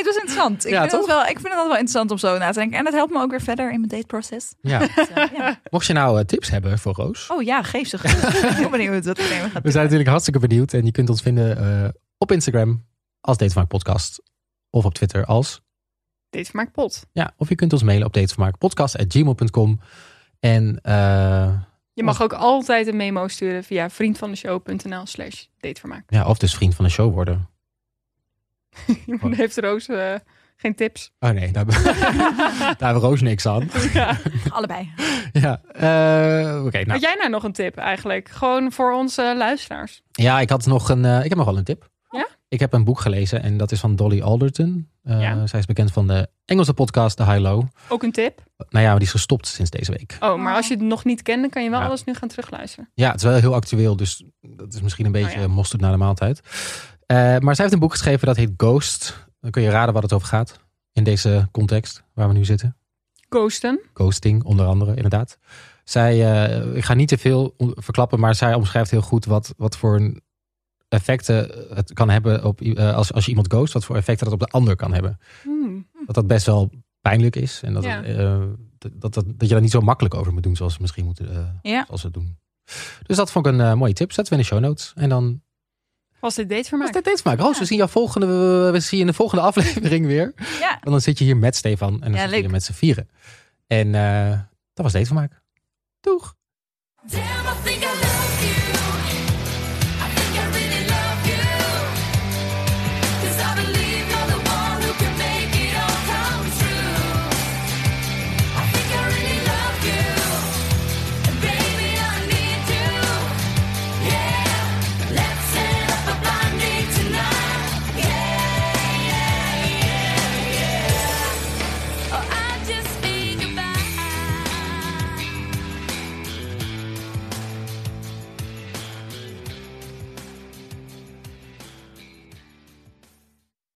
[SPEAKER 2] het was interessant. Ik,
[SPEAKER 3] Ja,
[SPEAKER 2] vind het
[SPEAKER 3] toch?
[SPEAKER 2] wel, ik vind het altijd wel interessant om zo na te denken. En dat helpt me ook weer verder in mijn dateproces.
[SPEAKER 3] Ja.
[SPEAKER 2] Dus, eh, ja.
[SPEAKER 3] Mocht je nou eh, tips hebben voor Roos,
[SPEAKER 2] Oh ja, geef ze goed. Ik ben heel benieuwd wat het nemen gaat.
[SPEAKER 3] we zijn natuurlijk hartstikke benieuwd en je kunt ons vinden eh, op Instagram als Datevermaak Podcast of op Twitter als,
[SPEAKER 1] Dit maakt pot.
[SPEAKER 3] ja, of je kunt ons mailen op datevermaakpodcast.gmail.com en eh,
[SPEAKER 1] Je mag ook altijd een memo sturen via vriendvandeshow.nl slash datevermaak.
[SPEAKER 3] ja, of dus vriend van de show worden.
[SPEAKER 1] Dan heeft Roos eh, geen tips.
[SPEAKER 3] Oh nee, daar, daar hebben Roos niks aan.
[SPEAKER 1] Ja.
[SPEAKER 2] Allebei.
[SPEAKER 3] Ja, eh, oké. nou.
[SPEAKER 1] Had jij nou nog een tip eigenlijk? Gewoon voor onze eh, luisteraars.
[SPEAKER 3] Ja, ik had nog een. eh, ik heb nog wel een tip.
[SPEAKER 1] Ja?
[SPEAKER 3] Ik heb een boek gelezen en dat is van Dolly Alderton. Eh,
[SPEAKER 1] Ja.
[SPEAKER 3] Zij is bekend van de Engelse podcast The High Low.
[SPEAKER 1] Ook een tip?
[SPEAKER 3] Nou ja, maar die is gestopt sinds deze week.
[SPEAKER 1] Oh, maar als je het nog niet kende, kan je wel
[SPEAKER 3] Ja.
[SPEAKER 1] alles nu gaan terugluisteren.
[SPEAKER 3] Ja, het is wel heel actueel, dus dat is misschien een beetje
[SPEAKER 1] ja.
[SPEAKER 3] eh, mosterd na de maaltijd. Eh, maar zij heeft een boek geschreven dat heet Ghost. Dan kun je raden waar het over gaat in deze context waar we nu zitten.
[SPEAKER 1] Ghosten.
[SPEAKER 3] Ghosting, onder andere, inderdaad. Zij, eh, ik ga niet te veel on- verklappen, maar zij omschrijft heel goed wat, wat voor een effecten het kan hebben op, i- eh, als, als je iemand ghost, wat voor effecten dat op de ander kan hebben.
[SPEAKER 1] Hmm.
[SPEAKER 3] Dat dat best wel pijnlijk is en dat,
[SPEAKER 1] Ja.
[SPEAKER 3] het, eh, dat, dat, dat, je daar niet zo makkelijk over moet doen zoals we misschien moeten eh,
[SPEAKER 2] Ja.
[SPEAKER 3] zoals we het doen. Dus dat vond ik een eh, mooie tip. Zetten we in de show notes. En dan
[SPEAKER 1] Was dit
[SPEAKER 3] was
[SPEAKER 1] datevermaak?
[SPEAKER 3] dit dit maken. Roos, we zien jou volgende, we, we zien je in de volgende aflevering weer.
[SPEAKER 2] Ja.
[SPEAKER 3] En dan zit je hier met Stefan en dan
[SPEAKER 2] Ja,
[SPEAKER 3] zit je
[SPEAKER 2] leuk.
[SPEAKER 3] hier met z'n vieren. En eh, dat was deze vermaak. Doeg!
[SPEAKER 5] Damn, I think I love you. Oh,